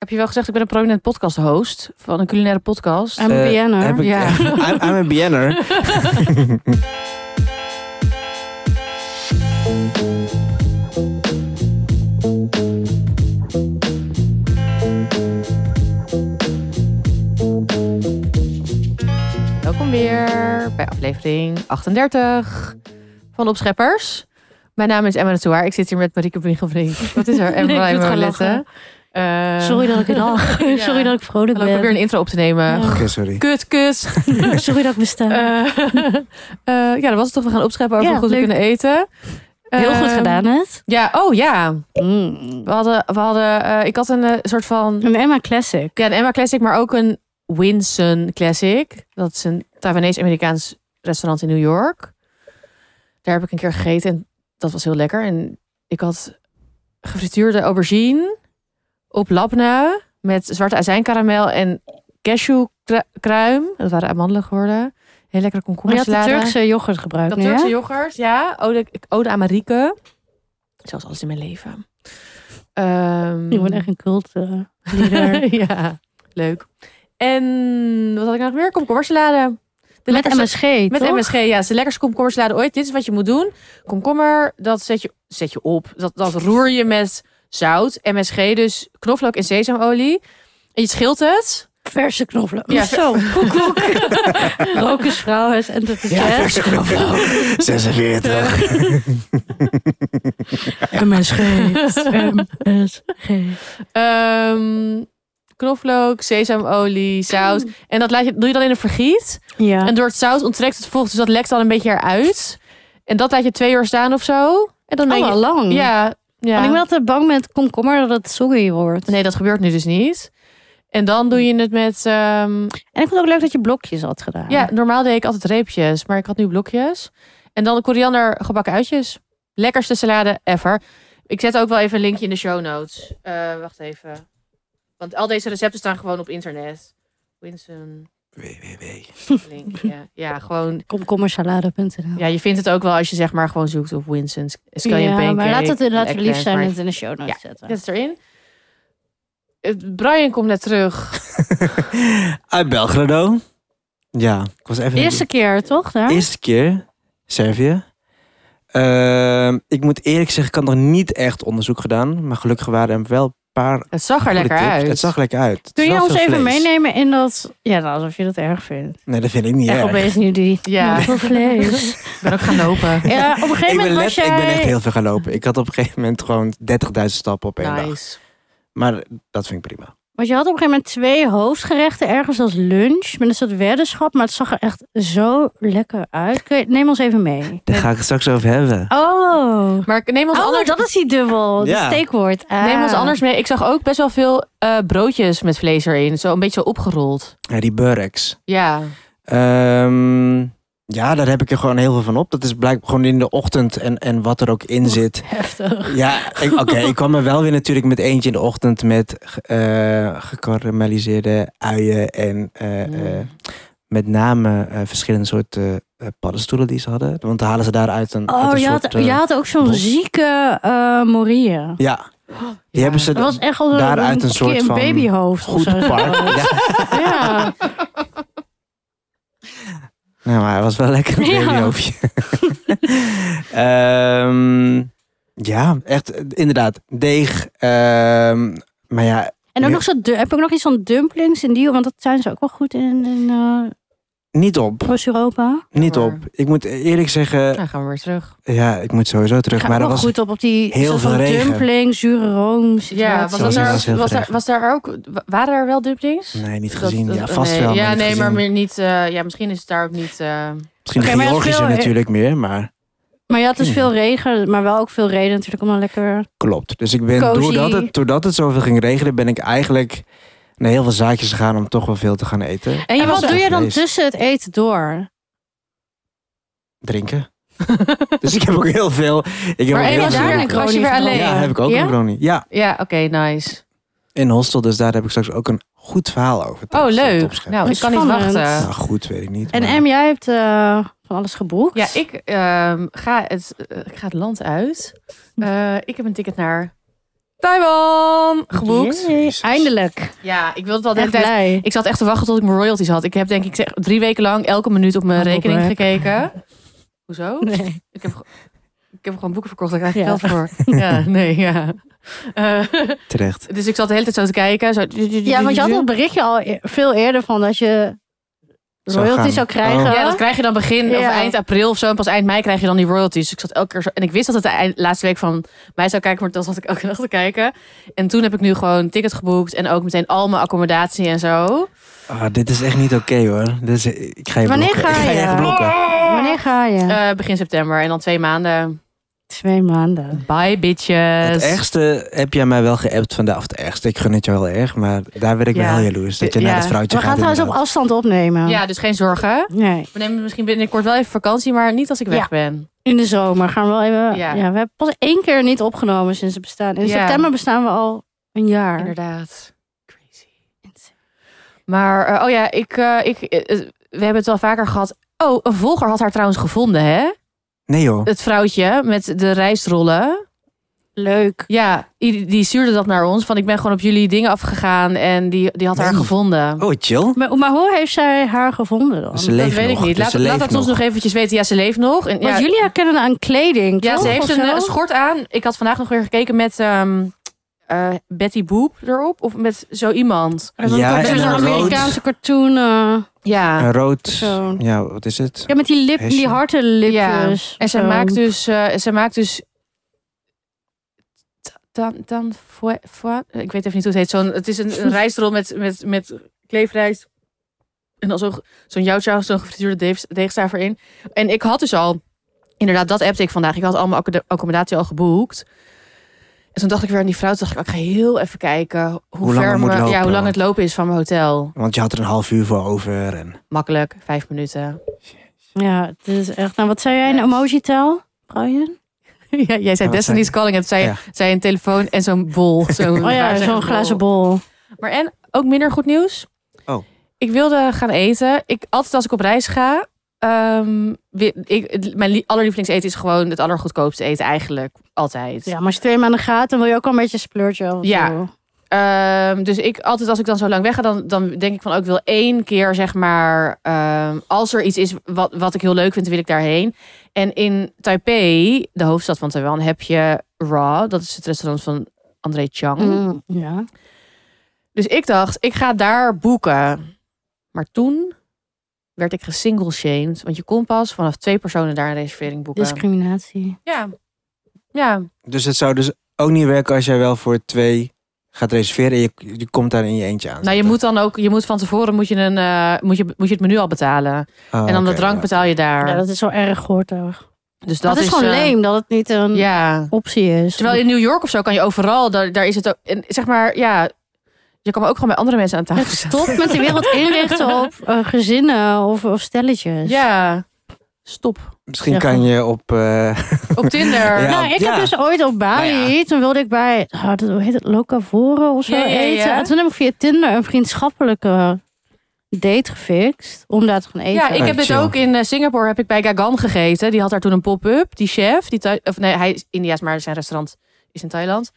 Heb je wel gezegd, ik ben een prominent podcast-host van een culinaire podcast. I'm a Eh, BN'er. Heb ik, Ja. I'm, I'm a BN'er. Oh. Welkom weer bij aflevering 38 van de Opscheppers. Mijn naam is Emma de Toer. Ik zit hier met Marieke Briegelbrink. Wat is er? Nee, ik Emma moet en gewoon Letten. Sorry dat ik het al. Sorry dat ik vrolijk Ehm, Ik probeer een ben. intro op te nemen. Ja. Oké, sorry. Kut, kut. Sorry dat ik bestaan. Eh, eh, ja, dat was het toch. We gaan opscheppen over Ja, hoe goed leuk. we kunnen eten. Heel Eh, goed gedaan, net. Ja, oh ja. Mm. We hadden, we hadden eh, ik had een eh, soort van Een Emma Classic. Ja, een Emma Classic, maar ook een Winson Classic. Dat is een Taiwanese-Amerikaans restaurant in New York. Daar heb ik een keer gegeten en dat was heel lekker. En ik had gefrituurde aubergine op labna met zwarte azijnkaramel en cashewkruim. Dat waren amandelen geworden. Heel lekkere Maar je had de komkommersalade. Turkse yoghurt gebruikt Dat nu, Turkse hè? yoghurt, ja. Ode, ode aan Marieke. Zoals alles in mijn leven. Ehm, Je bent echt een cult eh, leader. ja, leuk. En wat had ik nog meer? Komkommersalade. De Met lekkerste- MSG, Met toch? MSG, ja. Het is de lekkerste komkommersalade ooit. Dit is wat je moet doen. Komkommer, dat zet je, zet je op. Dat, dat roer je met zout, MSG, dus knoflook en sesamolie. En je schilt het. Verse knoflook. Ja, ver- zo. Koek, koek. Rokersvrouw is en de Ja, verse knoflook. 46. MSG. MSG. Ehm, knoflook, sesamolie, zout. En dat laat je, doe je dan in een vergiet. Ja. En door het zout onttrekt het vocht, dus dat lekt dan een beetje eruit. En dat laat je twee uur staan of zo. En dan Oh, denk wel je... lang. Ja, ja. Want ik ben altijd bang met komkommer dat het soggy wordt. Nee, dat gebeurt nu dus niet. En dan doe je het met... ehm, En ik vond het ook leuk dat je blokjes had gedaan. ja, normaal deed ik altijd reepjes, maar ik had nu blokjes. En dan de koriander gebakken uitjes. Lekkerste salade ever. Ik zet ook wel even een linkje in de show notes. Eh, wacht even. Want al deze recepten staan gewoon op internet. Winston, www. link, ja. ja, gewoon... Komkommersalade.nl Ja, je vindt het ook wel als je zeg maar gewoon zoekt op Winston's scallion Ja, pancake. maar laat het inderdaad Eggplant, lief zijn maar- en het in de show notes zetten. Zet het erin. Eh, Brian komt net terug. Uit Belgrado. Ja, ik was even... Eerste keer, toch? Daar? Eerste keer. Servië. Ehm, ik moet eerlijk zeggen, ik had nog niet echt onderzoek gedaan. Maar gelukkig waren er wel een paar Het zag er goede lekker tips. uit. Het zag lekker uit. Het Kun je was ons veel even vlees. meenemen in dat... Ja, nou, alsof je dat erg vindt. Nee, dat vind ik niet Echt erg. opeens nu die... Ja. Heel veel vlees. Ik ben ook gaan lopen. ja, op een gegeven Ik ben, moment let- was jij... ik ben echt heel veel gaan lopen. Ik had op een gegeven moment gewoon 30.000 stappen op één dag. Nice. Maar dat vind ik prima. Want je had op een gegeven moment twee hoofdgerechten ergens als lunch. Met een soort weddenschap. Maar het zag er echt zo lekker uit. Kun je- neem ons even mee. Daar ga ik het straks over hebben. Oh. Maar ik neem ons, Oh, anders, dat is die dubbel. Ja. Dat steekwoord. Ah. neem ons anders mee. Ik zag ook best wel veel eh, broodjes met vlees erin. Zo een beetje zo opgerold. Ja, die Bureks. Ja. Ehm, ja, daar heb ik er gewoon heel veel van op. Dat is blijkbaar gewoon in de ochtend en, en wat er ook in zit. Heftig. Ja, ik- oké, ik kwam er wel weer natuurlijk met eentje in de ochtend met ge- eh gekarameliseerde uien en eh, eh, Mm. met name eh, verschillende soorten eh, paddenstoelen die ze hadden. Want dan halen ze daaruit een, uit Oh, een je soort... had, eh, je had ook zo'n bos. zieke eh moria. ja, die Ja. hebben ze Dat was echt al Daaruit een een, soort keer een van babyhoofd. of goed zo. park. Ja. Ja. Nou, maar hij was wel lekker een Ja. babyhoofdje. Ehm, ja, echt eh, inderdaad. Deeg. ehm, maar ja, En ook Ja. nog zo, du- heb ik nog iets van dumplings in die, want dat zijn ze ook wel goed in, in eh, niet op. Oost-Europa. Niet Maar- op. Ik moet eerlijk zeggen, Dan Nou, gaan we weer terug. ja, ik moet sowieso terug. Ga Maar ook dat wel was goed op op die heel soort van veel regen. dumpling, zure room. Ja, was, situatie. Zo dat is het daar, wel heel was, daar, terecht. was daar ook... wa- Waren er wel dumplings? Nee, niet Dat- gezien. dat- ja, vast nee. wel. Ja, niet nee, maar gezien. meer niet... eh, ja, misschien is het daar ook niet... eh, Misschien Oké, maar de het is Georgische veel- natuurlijk meer, maar Maar je had dus Hmm. veel regen, maar wel ook veel reden natuurlijk om dan lekker. klopt. Dus ik ben, Cozy. doordat het, doordat het zoveel ging regenen, ben ik eigenlijk naar heel veel zaakjes gegaan om toch wel veel te gaan eten. En, je- was wat doe je dan gevreesd. tussen het eten door? Drinken. dus ik heb ook heel veel. Ik heb Maar ook en heel was veel je weer- drinken. was je weer alleen? Ja, heb ik ook Ja? een brownie. Ja, Ja, oké, nice. in hostel, dus daar heb ik straks ook een goed verhaal over. Oh, tijdens het leuk. opscheppen. Nou, ik kan niet Spannend. wachten. Nou, goed, weet ik niet. En maar- Em, jij hebt eh, van alles geboekt. Ja, ik, ehm, ga het, eh, ik ga het land uit. Eh, ik heb een ticket naar Taiwan geboekt. Jee, Jezus. Eindelijk. Ja, ik wilde het al de Echt hele tijd- blij. Ik zat echt te wachten tot ik mijn royalties had. Ik heb denk ik zeg, drie weken lang elke minuut op mijn Oh, rekening Robert. gekeken. Hoezo? Nee. Ik heb, ge- ik heb gewoon boeken verkocht, daar krijg ik Ja. geld voor. Ja, nee, ja. Eh, Terecht. dus ik zat de hele tijd zo te kijken. Zo, Ja, want je had dat berichtje al e- veel eerder van dat je Zou royalty gaan. Oh. zou krijgen. Ja, dat krijg je dan begin of Ja. eind april of zo. En pas eind mei krijg je dan die royalties. Dus ik zat elke keer zo... En ik wist dat het de eind- laatste week van mij zou kijken. Maar dat zat ik elke dag te kijken. En toen heb ik nu gewoon een ticket geboekt. En ook meteen al mijn accommodatie en zo. Ah, dit is echt niet oké hoor. Dit is, ik ga je Wanneer blokken. ga ik ga je je? echt blokken. Wanneer ga je? Eh, begin september. En dan twee maanden. Twee maanden. Bye, Het bitches. ergste heb jij mij wel geappt vandaag. Of het ergste, ik gun het je wel erg. Maar daar werd ik Ja. wel heel jaloers. Dat je Ja. naar het vrouwtje We gaan gaat. trouwens op inderdaad. afstand opnemen. Ja, dus geen zorgen. Nee. We nemen misschien binnenkort wel even vakantie. Maar niet als ik weg Ja. ben. In de zomer gaan we wel even. Ja. Ja. we hebben pas één keer niet opgenomen sinds het bestaan. In Ja. september bestaan we al een jaar. Inderdaad. Crazy. Maar, eh, oh ja, ik, eh, ik, eh, eh, we hebben het wel vaker gehad. Oh, een volger had haar trouwens gevonden, hè? Nee joh. het vrouwtje met de rijstrollen. Leuk. Ja, die, die stuurde dat naar ons. Van ik ben gewoon op jullie dingen afgegaan. En die, die had haar Nee. gevonden. Oh, chill. Maar, maar hoe heeft zij haar gevonden dan? Ze Eh, dat leeft weet nog. ik niet. dus Laat, ze laat leeft dat ons nog eventjes weten. Ja, ze leeft nog. En, ja, Want jullie herkennen haar aan kleding. ja, toch? ze heeft Of een, zo? eh, schort aan. Ik had vandaag nog weer gekeken met ehm, eh, Betty Boop erop. Of met zo iemand. Dat is Ja, ook en zo'n een rood. Amerikaanse cartoon. eh. Ja. Een rood. Zo. Ja, wat is het? Ja, met die lip, Hesje. die harte lipjes. En zij Zo. maakt dus... eh zij maakt dus dan, dan, voor, voor, ik weet even niet hoe het heet. Zo'n, het is een, een rijstrol met, met, met kleefrijst. En dan zo, zo'n jouwtjouw, zo'n gefrituurde deeg- deegstaaf erin. En ik had dus al, inderdaad, dat appte ik vandaag. Ik had al mijn accommoda- accommodatie al geboekt. En toen dacht ik weer aan die vrouw. Toen dacht ik, "Oh, ik ga heel even kijken hoe, Hoe lang ver het moet me- Ja, hoe lopen. lang het lopen is van mijn hotel. Want je had er een half uur voor over. En... Makkelijk, vijf minuten. Ja, het is echt. Nou, wat zei jij? Een Yes. emoji tel? Brian? Ja, jij zei zei Destiny's ik? Calling. En toen zei, je- Ja. zei een telefoon en zo'n bol. Zo'n Oh ja, glazen zo'n glazen bol. Maar en ook minder goed nieuws. Oh. Ik wilde gaan eten. Ik, altijd als ik op reis ga. ehm, wi- ik, het- mijn lie- allerlievelingseten is gewoon het allergoedkoopste eten eigenlijk. Altijd. Ja, maar als je twee maanden gaat, dan wil je ook al een beetje splurgen. af en Ja. toe. Ehm, dus ik altijd als ik dan zo lang wegga, dan, dan denk ik van ook ik wil één keer zeg maar. ehm, als er iets is wat, wat ik heel leuk vind, dan wil ik daarheen. En in Taipei, de hoofdstad van Taiwan, heb je Raw. Dat is het restaurant van André Chang. Mhm. Mm, Ja. Dus ik dacht, ik ga daar boeken. Maar toen werd ik gesingelshamed. Want je kon pas vanaf twee personen daar een reservering boeken. Discriminatie. ja. Ja. Dus het zou dus ook niet werken als jij wel voor twee gaat reserveren. En je, je komt daar in je eentje aan. Nou, je moet dan ook, je moet van tevoren moet je, een, eh, moet je, moet je het menu al betalen. Ah, en dan oké, de drank ja. betaal je daar. Ja, dat is wel erg hoor. Dat, dus dat, dat is, gewoon eh, leem dat het niet een Ja. optie is. Terwijl in New York of zo kan je overal, daar, daar is het ook. En zeg maar, ja. Je kan ook gewoon bij andere mensen aan tafel het zitten. stopt met de wereld inrichten op eh, gezinnen of, of stelletjes. Ja. Stop. Misschien Ja, kan goed. je op. eh, Op Tinder. Ja. nou, ik ja. heb dus ooit op Bali, Nou toen wilde ik bij, ah, dat- hoe heet het, Locavoren of zo Ja, ja, ja. eten. En toen heb ik via Tinder een vriendschappelijke date gefixt om daar te gaan eten. Ja, ik Oh, heb dit chill. ook in eh, Singapore heb ik bij Gagan gegeten. Die had daar toen een pop-up. Die chef, die Thai- of nee, hij is Indiaas, maar zijn restaurant is in Thailand.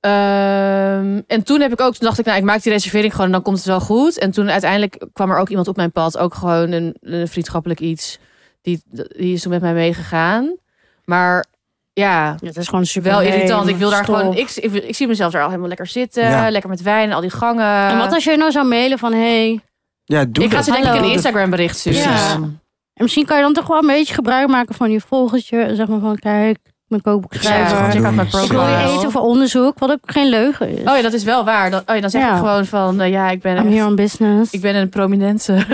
Ehm, en toen heb ik ook, toen dacht ik, nou, ik maak die reservering gewoon en dan komt het wel goed. En toen uiteindelijk kwam er ook iemand op mijn pad, ook gewoon een, een vriendschappelijk iets. Die, die is toen met mij meegegaan. Maar ja, Ja, Het is gewoon super wel irritant. leem, Ik wil daar stom. gewoon, ik, ik, ik zie mezelf daar al helemaal lekker zitten, Ja. lekker met wijn en al die gangen. En wat als je nou zou mailen van, hé, hey, ja, doe ik ga dat. ze denk ik Hallo. een Instagram bericht sturen. Precies. Ja. En misschien kan je dan toch wel een beetje gebruik maken van je volgertje. Zeg maar van, kijk, mijn Ja, het gewoon kookboekschrijver. check out doen. my Ik wil profile. je eten voor onderzoek, wat ook geen leugen is. Oh ja, dat is wel waar. Dan, oh ja, dan zeg Ja. ik gewoon van, eh, ja, ik ben, I'm echt- here on business. ik ben een prominente.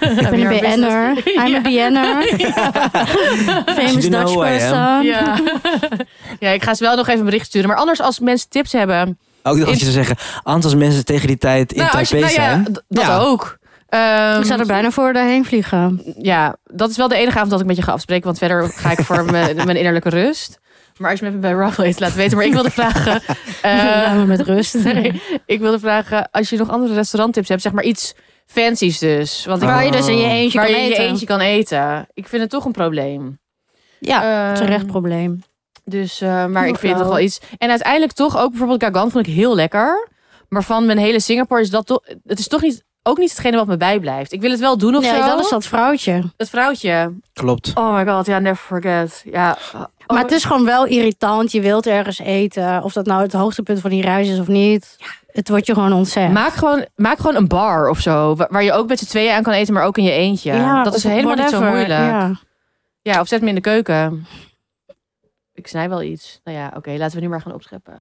Ik ben een BN'er. I'm a BN'er. Famous You know Dutch who I am. person. Ja. ja, ik ga ze wel nog even een bericht sturen. Maar anders, als mensen tips hebben... Ook nog in- wat je zou zeggen. Anders als mensen tegen die tijd in nou, als je- Taipei nou ja, zijn. d- dat Ja. ook. Ehm, Ik zou er bijna voor daarheen vliegen. Ja, dat is wel de enige avond dat ik met je ga afspreken. Want verder ga ik voor mijn, mijn innerlijke rust. Maar als je me even bij Raffle eet, laat weten. Maar ik wilde vragen... eh, Laat me met rust. nee, ik wilde vragen, als je nog andere restauranttips hebt, zeg maar iets fancies dus. Want ik Waar je dus in je eentje waar kan je in je eten. eentje kan eten. Ik vind het toch een probleem. Ja, Ehm, terecht probleem. Dus, eh, maar Heel ik vind het toch flauw. wel iets. En uiteindelijk toch ook bijvoorbeeld Gagan vond ik heel lekker. Maar van mijn hele Singapore is dat toch... Het is toch niet, ook niet hetgene wat me bijblijft. Ik wil het wel doen of Nee, zo. dat is dat vrouwtje. Dat vrouwtje. Klopt. Oh my god, ja, never forget. Ja. Maar het is gewoon wel irritant. Je wilt ergens eten. Of dat nou het hoogtepunt van die reis is of niet. Het wordt je gewoon ontzegd. Maak gewoon, maak gewoon een bar of zo. wa- Waar je ook met z'n tweeën aan kan eten, maar ook in je eentje. dat is of helemaal niet zo whatever. moeilijk. Ja. Ja. of zet me in de keuken. Ik snij wel iets. Nou ja, oké, laten we nu maar gaan opscheppen.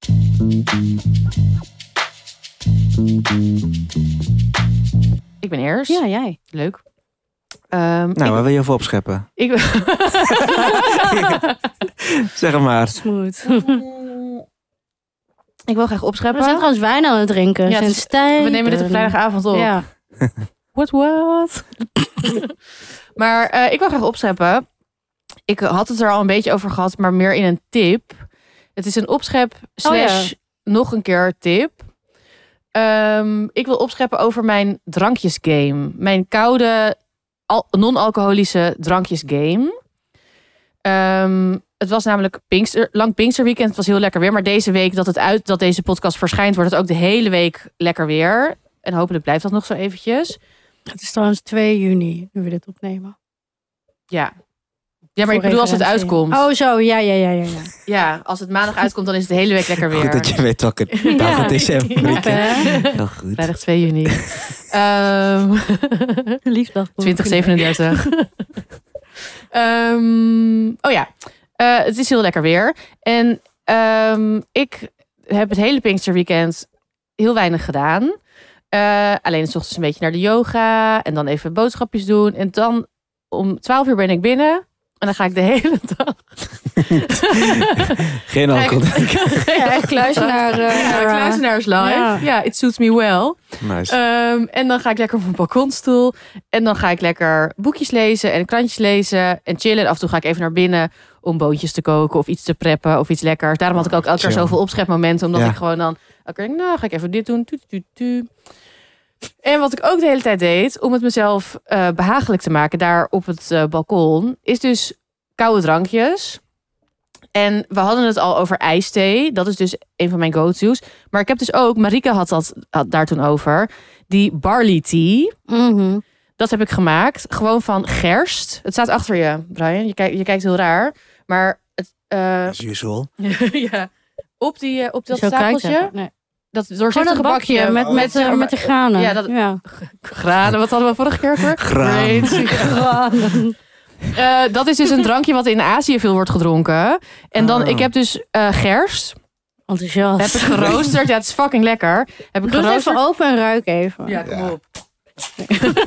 Ik ben eerst. ja, jij. Leuk. Ehm, Nou, waar wil je voor opscheppen? ik, ik, Zeg het maar. Smooth. ik wil graag We zijn opscheppen. trouwens wijn aan het drinken. Ja, het Sinds is- tijden. We nemen dit op vrijdagavond op. Ja. What, what? maar eh, ik wil graag opscheppen. Ik had het er al een beetje over gehad, maar meer in een tip. Het is een opschep slash nog een keer tip. Ehm, ik wil opscheppen over mijn drankjesgame. Mijn koude, al- non-alcoholische drankjesgame. Ehm, het was namelijk Pinkster, lang Pinksterweekend. Het was heel lekker weer. Maar deze week dat het uit dat deze podcast verschijnt, wordt het ook de hele week lekker weer. En hopelijk blijft dat nog zo eventjes. Het is trouwens 2 juni nu we dit opnemen. Ja. Ja, maar Voor ik bedoel als het referentie. uitkomt. Oh, zo. Ja, ja, ja, ja. ja. Ja, als het maandag uitkomt, dan is het de hele week lekker weer. Goed dat je weet welke Ja. dag het is. en Knap, weekend. hè? Heel goed. Vrijdag 2 juni. Ehm, Liefdag. 2037. Ehm, oh ja, Eh, het is heel lekker weer. En ehm, ik heb het hele Pinksterweekend heel weinig gedaan. Eh, alleen s ochtends een beetje naar de yoga en dan even boodschapjes doen. En dan om 12 uur ben ik binnen en dan ga ik de hele dag. Geen alcohol. Ja, echt kluizenaar. eh, Ja, naar, eh, kluizenaars live. Ja. Ja, it suits me well. Nice. Ehm, en dan ga ik lekker op een balkonstoel. En dan ga ik lekker boekjes lezen en krantjes lezen en chillen. Af en toe ga ik even naar binnen om boontjes te koken of iets te preppen of iets lekkers. Daarom had ik ook elke keer Chill. zoveel opschepmomenten. Omdat Ja. ik gewoon dan elke keer denk, nou ga ik even dit doen. Tu, tu, tu. En wat ik ook de hele tijd deed, om het mezelf eh, behagelijk te maken daar op het eh, balkon, is dus koude drankjes. En we hadden het al over ijsthee. Dat is dus een van mijn go-to's. Maar ik heb dus ook, Marika had dat had daar toen over, die barley tea. mhm. Dat heb ik gemaakt. Gewoon van gerst. Het staat achter je, Brian. Je, kijkt, je kijkt heel raar. Maar het, eh, As usual. ja, op, die, eh, op dat Zo kijkt hij. stapeltje, Nee. dat Gewoon doorzichtige een bakje met, Oh. met, eh, met de granen. Ja, dat- granen. Wat hadden we vorige keer ook weer? Graan. Great. Granen. Eh, dat is dus een drankje wat in Azië veel wordt gedronken. En dan, Ah. ik heb dus eh, gerst. Heb ik Enthousiast. geroosterd. Ja, het is fucking lekker. Heb ik Doe het even geroosterd. open en ruik even. Ja, kom Ja. op.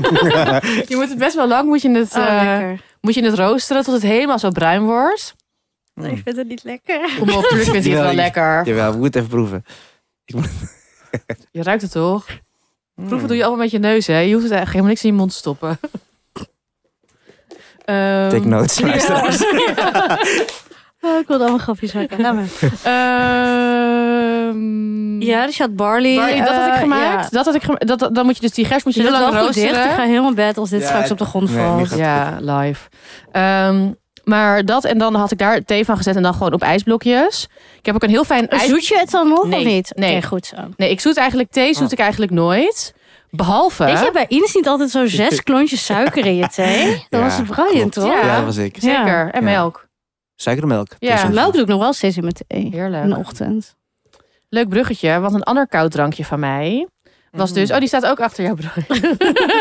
je moet het best wel lang moet je het, Oh, eh, lekker. moet je het roosteren tot het helemaal zo bruin wordt. Ik vind het niet lekker. Kom op, natuurlijk vind je het wel Hmm. Jawel, lekker. Jawel, we moeten even proeven. Je ruikt het toch? Proeven Mm. doe je allemaal met je neus, hè? Je hoeft het eigenlijk helemaal niks in je mond te stoppen. Ehm, Take notes, luisteraars. Oh, ik wilde allemaal grapjes maken. Laat maar. ehm, Ja, dus je had barley. Barley, dat had ik eh, gemaakt. ja. Dat had ik gema- dat, dat- dan moet je dus die gerst moet je Je heel doet lang wel goed dicht. Ik roosteren. ga helemaal bed als dit Ja, straks op de grond nee, niet valt. goed. Ja, live. Ehm, maar dat en dan had ik daar thee van gezet en dan gewoon op ijsblokjes. Ik heb ook een heel fijn ijs. Zoet je het dan nog Nee, of niet? nee. Oké, goed zo. Nee, ik zoet eigenlijk thee, zoet Oh. ik eigenlijk nooit. Behalve. Weet je bij Ines niet altijd zo zes klontjes suiker in je thee? Dat Ja, was briljant, klopt. toch? Ja. Ja, dat was ik. Zeker. En Ja. melk. Suikermelk. Ja. Dus- Melk doe ik nog wel steeds in mijn thee. In de Heerlijk. ochtend. Leuk bruggetje, want een ander koud drankje van mij was dus. Oh, die staat ook achter jou, Brian.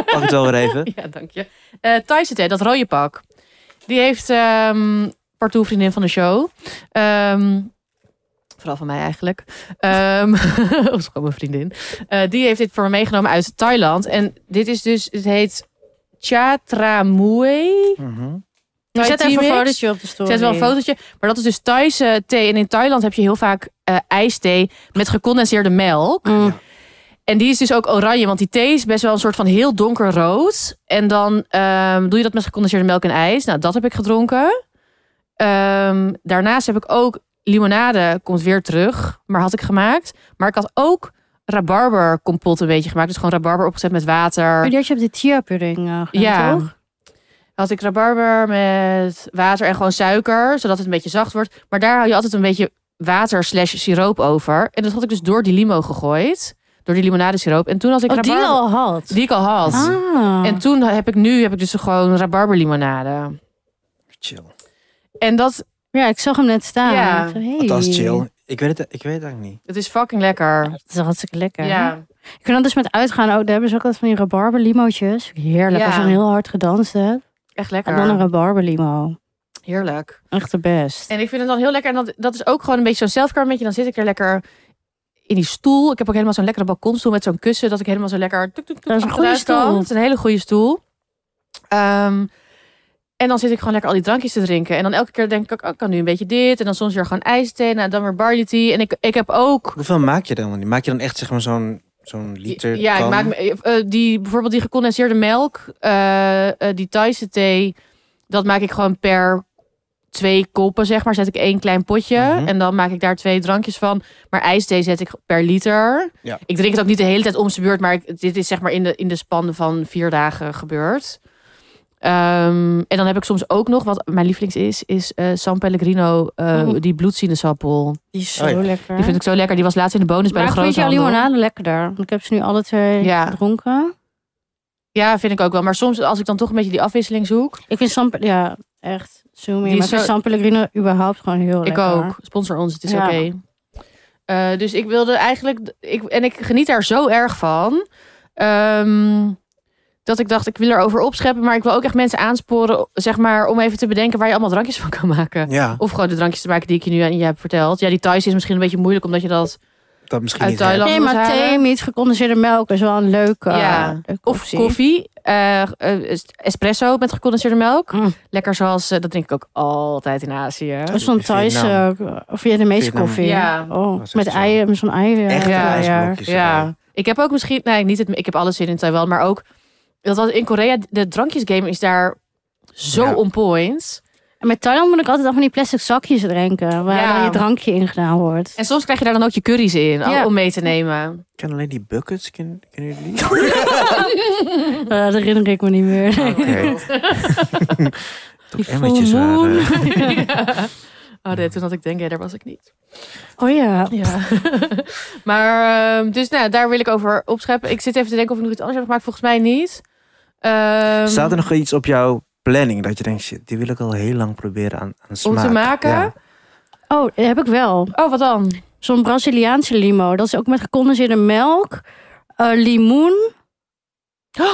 Pak het wel weer even. ja, dank je. Eh Thaise thee, dat rode pak. Die heeft ehm partout vriendin van de show. Ehm, vooral van mij eigenlijk. Ehm dat is gewoon mijn vriendin. Eh, die heeft dit voor me meegenomen uit Thailand. En dit is dus, het heet Chatramoei. Mhm. Ik Thai zet tea even een mix. fotootje op de story. Zet wel een fotootje. Maar dat is dus Thaise thee. En in Thailand heb je heel vaak eh, ijsthee met gecondenseerde melk. Mm. En die is dus ook oranje, want die thee is best wel een soort van heel donker rood. En dan ehm, doe je dat met gecondenseerde melk en ijs. Nou, dat heb ik gedronken. Ehm, daarnaast heb ik ook limonade, komt weer terug, maar had ik gemaakt. Maar ik had ook rabarbercompot een beetje gemaakt. Dus gewoon rabarber opgezet met Maar water. die had je op de chia pudding eh gedaan, Ja. toch? had ik rabarber met water en gewoon suiker, zodat het een beetje zacht wordt. Maar daar hou je altijd een beetje water slash siroop over. En dat had ik dus door die limo gegooid. Door die limonadesiroop. En toen had ik Oh, die rabarber... al had. Die ik al had. Ah. En toen heb ik nu heb ik dus gewoon rabarberlimonade. Chill. En dat, Ja, ik zag hem net staan. Ja. Ik zo, hey. Oh, Dat is chill. Ik weet, het, ik weet het eigenlijk niet. het is fucking lekker. Dat is hartstikke lekker. Ja. Ik vind dat dus met uitgaan ook. Daar hebben ze ook dat van die rabarberlimootjes. Heerlijk, Ja. als je dan heel hard gedanst hebt. Echt En dan een lekker. rabarberlimo. Heerlijk. Echt de best. En ik vind het dan heel lekker. En dat, dat is ook gewoon een beetje zo'n selfcare momentje. Dan zit ik er lekker in die stoel. Ik heb ook helemaal zo'n lekkere balkonstoel met zo'n kussen. Dat ik helemaal zo lekker... Tuk, tuk, tuk, Dat is een goede achteruit kan. stoel. Dat is een hele goede stoel. Ehm, en dan zit ik gewoon lekker al die drankjes te drinken. En dan elke keer denk ik, ook, oh, ik kan nu een beetje dit. En dan soms weer gewoon ijsthee. En dan weer barley tea. En ik, ik heb ook... Hoeveel maak je dan? wel niet? Maak je dan echt zeg maar zo'n zo'n liter ja, ik kan? maak me- eh, eh, die, bijvoorbeeld die gecondenseerde melk. eh, eh, die Thaise thee. Dat maak ik gewoon per twee koppen, zeg maar. Zet ik één klein potje. Mhm. En dan maak ik daar twee drankjes van. Maar ijsthee zet ik per liter. Ja. Ik drink het ook niet de hele tijd om zijn beurt. Maar ik- dit is zeg maar in de, in de span van vier dagen gebeurd. Ehm, en dan heb ik soms ook nog, wat mijn lievelings is, is eh, San Pellegrino, eh, Mm. die bloedsinesappel. Die is zo Oh ja. lekker. Die vind ik zo lekker. Die was laatst in de bonus bij maar de ik vind grote jouw limonade lekkerder. Want ik heb ze nu alle twee Ja. gedronken. Ja, vind ik ook wel. Maar soms als ik dan toch een beetje die afwisseling zoek. Ik vind San... Ja, echt. Zo meer. Die Maar is ik vind zo- San Pellegrino überhaupt gewoon heel ik lekker. ook. Sponsor ons, het is Ja. oké. Eh, dus ik wilde eigenlijk... Ik, en ik geniet daar zo erg van. ehm, dat ik dacht, ik wil erover opscheppen. Maar ik wil ook echt mensen aansporen, zeg maar... om even te bedenken waar je allemaal drankjes van kan maken. Ja, Of gewoon de drankjes te maken die ik je nu aan je heb verteld. Ja, die Thais is misschien een beetje moeilijk, omdat je dat... dat misschien Uit niet. hè? Thailand. Nee, maar Lamberthalen. thee met gecondenseerde melk is wel een leuke Ja. eh, Of optie. koffie. eh, eh, espresso met gecondenseerde melk. Mm. Lekker zoals... eh, dat drink ik ook altijd in Azië. Dat is zo'n Thaise Vietnam. of Vietnamese Vietnam. koffie. Ja. Oh, Dat is met echt zo. eieren, met zo'n eieren. Echt Ja. ijsblokjes erbij. Ja, ik heb ook misschien, nee, niet het, ik heb alles zin in Taiwan, maar ook dat was in Korea de drankjesgame is daar zo Ja. on point. En met Thailand moet ik altijd al van die plastic zakjes drinken. Waar Ja. dan je drankje in gedaan wordt. En soms krijg je daar dan ook je curry's in Ja. om mee te nemen. Ik ken alleen die buckets. Ken, kennen jullie die? Eh, dat herinner ik me niet meer. Oh, Oké. Die Emmertjes full moon. waren. eh. Oh nee, toen had ik denk, ja, daar was ik niet. Oh ja. Ja. maar ehm, dus nou, daar wil ik over opscheppen. Ik zit even te denken of ik nog iets anders heb gemaakt. Volgens mij niet. Ehm, Staat er nog iets op jouw planning dat je denkt, shit, die wil ik al heel lang proberen aan, aan smaak. maken? Ja. Oh, dat heb ik wel. Oh, wat dan? Zo'n Braziliaanse limo. Dat is ook met gecondenseerde melk, eh, limoen.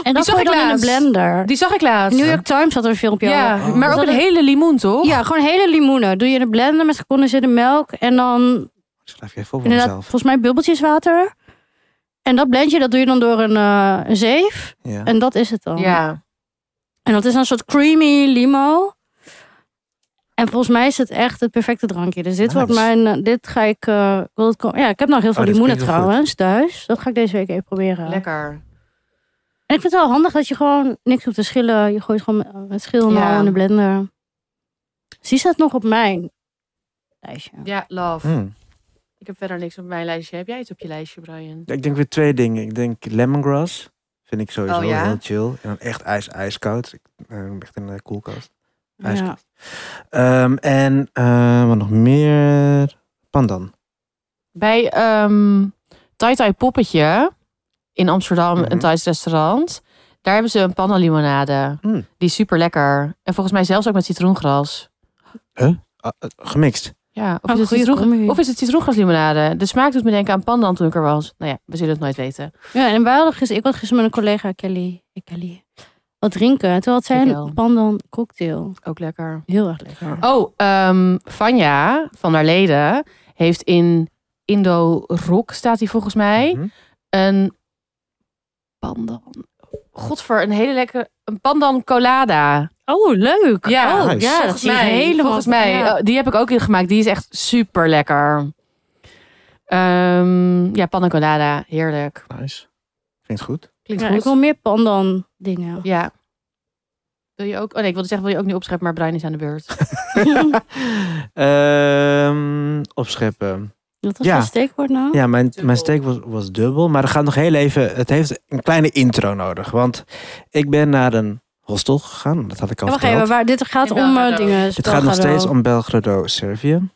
En dat zag gooi ik je dan in een laatst. blender. Die zag ik laatst. New York Times had er een filmpje ja, Oh. over. maar ook Dat een hele limoen, toch? Ja, gewoon hele limoenen. Doe je in een blender met gecondenseerde melk. En dan Ik schrijf je even op voor Inderdaad, mezelf. volgens mij bubbeltjeswater. En dat blendje, dat doe je dan door een, eh, een zeef. Ja. En dat is het dan. Ja. En dat is dan een soort creamy limo. En volgens mij is het echt het perfecte drankje. Dus dit Nice. Oh, wordt mijn... eh, Dit ga ik... eh, wil het ko- ja, ik heb nog heel veel dit limoenen klinkt heel goed. trouwens thuis. Dat ga ik deze week even proberen. Lekker. En ik vind het wel handig dat je gewoon niks hoeft te schillen. Je gooit gewoon met- met schil en Ja. al in de blender. Zie staat nog op mijn lijstje. Ja, love. Mm. Ik heb verder niks op mijn lijstje. Heb jij iets op je lijstje, Brian? Ik denk weer twee dingen. Ik denk lemongrass. Vind ik sowieso Oh, ja? heel chill. En dan echt ijs, ijskoud. Ik, eh, echt in de koelkast. Ja. Ijskoud. Ehm, en eh, wat nog meer? Pandan. Bij ehm Tai Tai Poppetje in Amsterdam, Mhm. een Thais restaurant. Daar hebben ze een pannenlimonade. Mm. Die is super lekker. En volgens mij zelfs ook met citroengras. Ah, eh, gemixt. Ja, of, Oh, is, het goeie citroen... combi. of is het citroengraslimonade? De smaak doet me denken aan pandan toen ik er was. Nou ja, we zullen het nooit weten. Ja, en wij hadden gisteren, ik had gisteren met een collega, Kelly, eh, Kelly wat drinken. En toen had zij Dankjewel. een pandan cocktail. Ook lekker. Heel erg lekker. Oh, ehm Vanja van haar leden heeft in Indo Rock, staat hij volgens mij, Mhm. een pandan. Godver, een hele lekkere een pandan colada. Oh, leuk. Ja, nice. ja dat zie ik helemaal. volgens mij. Ja. Oh, die heb ik ook in gemaakt. Die is echt super lekker. Ehm, ja, pandan colada, heerlijk. Nice. Klinkt goed. Klinkt Ja, goed. ik wil meer pandan dingen. Ja. Wil je ook? Oh nee, ik wilde zeggen, wil je ook niet opschrijven, maar Brian is aan de beurt. Ehm, opscheppen. Dat was Ja. een steekwoord nou. Ja, mijn, Dubbel. mijn steek was, was dubbel. Maar er gaat nog heel even. Het heeft een kleine intro nodig. Want ik ben naar een hostel gegaan. Dat had ik al Ja, wacht verteld. even, waar, dit gaat In om eh, Belgrado. dingen. Het gaat nog Belgrado. steeds om Belgrado, Servië.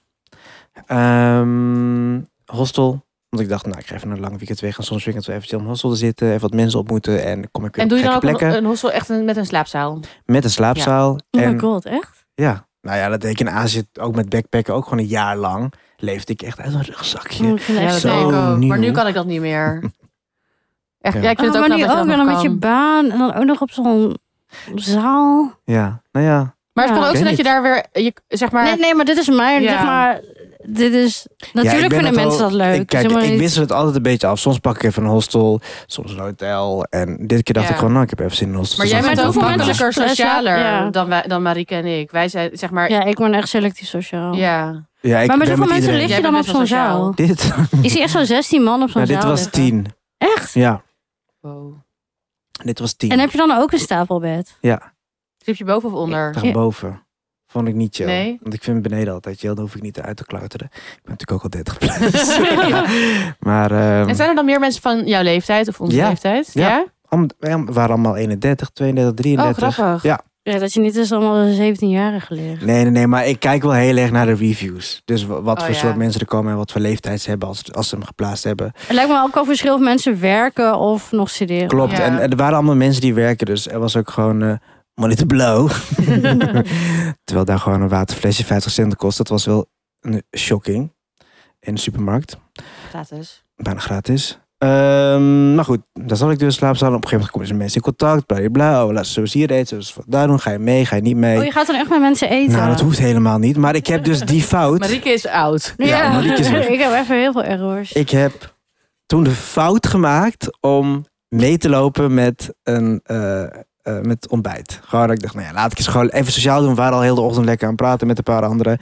Ehm, hostel. Want ik dacht, nou, ik ga even een lang weekend weg. En soms weekend wel eventjes om hostel te zitten. Even wat mensen ontmoeten. En kom ik weer En op doe je dan gekke ook een, plekken. een hostel echt een- met een slaapzaal? Met een slaapzaal. Oh en my god, echt? ja, nou ja, dat deed ik in Azië ook met backpacken. Ook gewoon een jaar lang leefde ik echt uit een rugzakje. Oh, ik vind het Ja, echt dat zo deed ik ook. Maar nu nieuw. kan ik dat niet meer. Echt, Ja. ja. ik vind Oh, het ook maar nu knap dat je dat ook nog nog met je kan. baan en dan ook nog op zo'n zaal. Ja, nou ja. Maar het Ja. kan ook Ik zijn dat weet je daar weer, je, zeg maar... Nee, nee, maar dit is mijn, Ja. zeg maar, dit is... Ja, ik Natuurlijk ben vinden het mensen al- dat leuk. Ik, Het is kijk, helemaal ik niet- wissel het altijd een beetje af. Soms pak ik even een hostel, soms een hotel. En dit keer dacht Ja. ik gewoon, nou, ik heb even zin in een hostel. Maar Dus jij dan bent Maar ook vind ik hoeveel prima. mensen- makkelijker socialer Ja. dan, wij, dan Marieke en ik. Wij zijn, zeg maar... Ja. Ja, ik ben echt selectief sociaal. Ja, ik maar met ben hoeveel mensen iedereen. lig je Jij dan op bent best zo'n wel sociaal. zaal? Dit, Ik zie echt zo'n 16 man op zo'n nou, zaal dit was liggen. tien. Echt? Ja, Wow. dit was tien. En heb je dan ook een stapelbed? Sliep je boven of onder? Daar boven. Vond ik niet chill. Nee? Want ik vind beneden altijd chill. Dan hoef ik niet uit te klauteren. Ik ben natuurlijk ook al 30 plus. maar ehm, En zijn er dan meer mensen van jouw leeftijd of onze Ja. leeftijd? Ja. Ja. am- wij am- waren allemaal 31, 32, Oh, 33. grappig. Ja. Ja, dat je niet eens allemaal 17-jarige leert. nee, nee, nee. Maar ik kijk wel heel erg naar de reviews. Dus wa- wat Oh, voor ja. soort mensen er komen en wat voor leeftijd ze hebben als, als ze hem geplaatst hebben. Het lijkt me ook al verschil of mensen werken of nog studeren. Klopt. Ja. En, en er waren allemaal mensen die werken. Dus er was ook gewoon eh money to blow. Terwijl daar gewoon een waterflesje 50 cent kost. Dat was wel een shocking. In de supermarkt. Gratis. bijna gratis. Ehm, maar goed, daar zat ik dus in slaapzaal. En Op een gegeven moment komen ze mensen in contact. Bla bla bla. Oh, laat ze hier eten. Zullen ze wat daar doen. Ga je mee? Ga je niet mee? Oh, je gaat dan echt met mensen eten? nou, dat hoeft helemaal niet. Maar ik heb dus die fout. Marieke is oud. Ja, Marieke is weg. ik heb even heel veel errors. Ik heb toen de fout gemaakt om mee te lopen met een. eh, eh, met ontbijt. Gewoon dat ik dacht, nou ja, laat ik eens gewoon even sociaal doen. We waren al heel de ochtend lekker aan het praten met een paar anderen.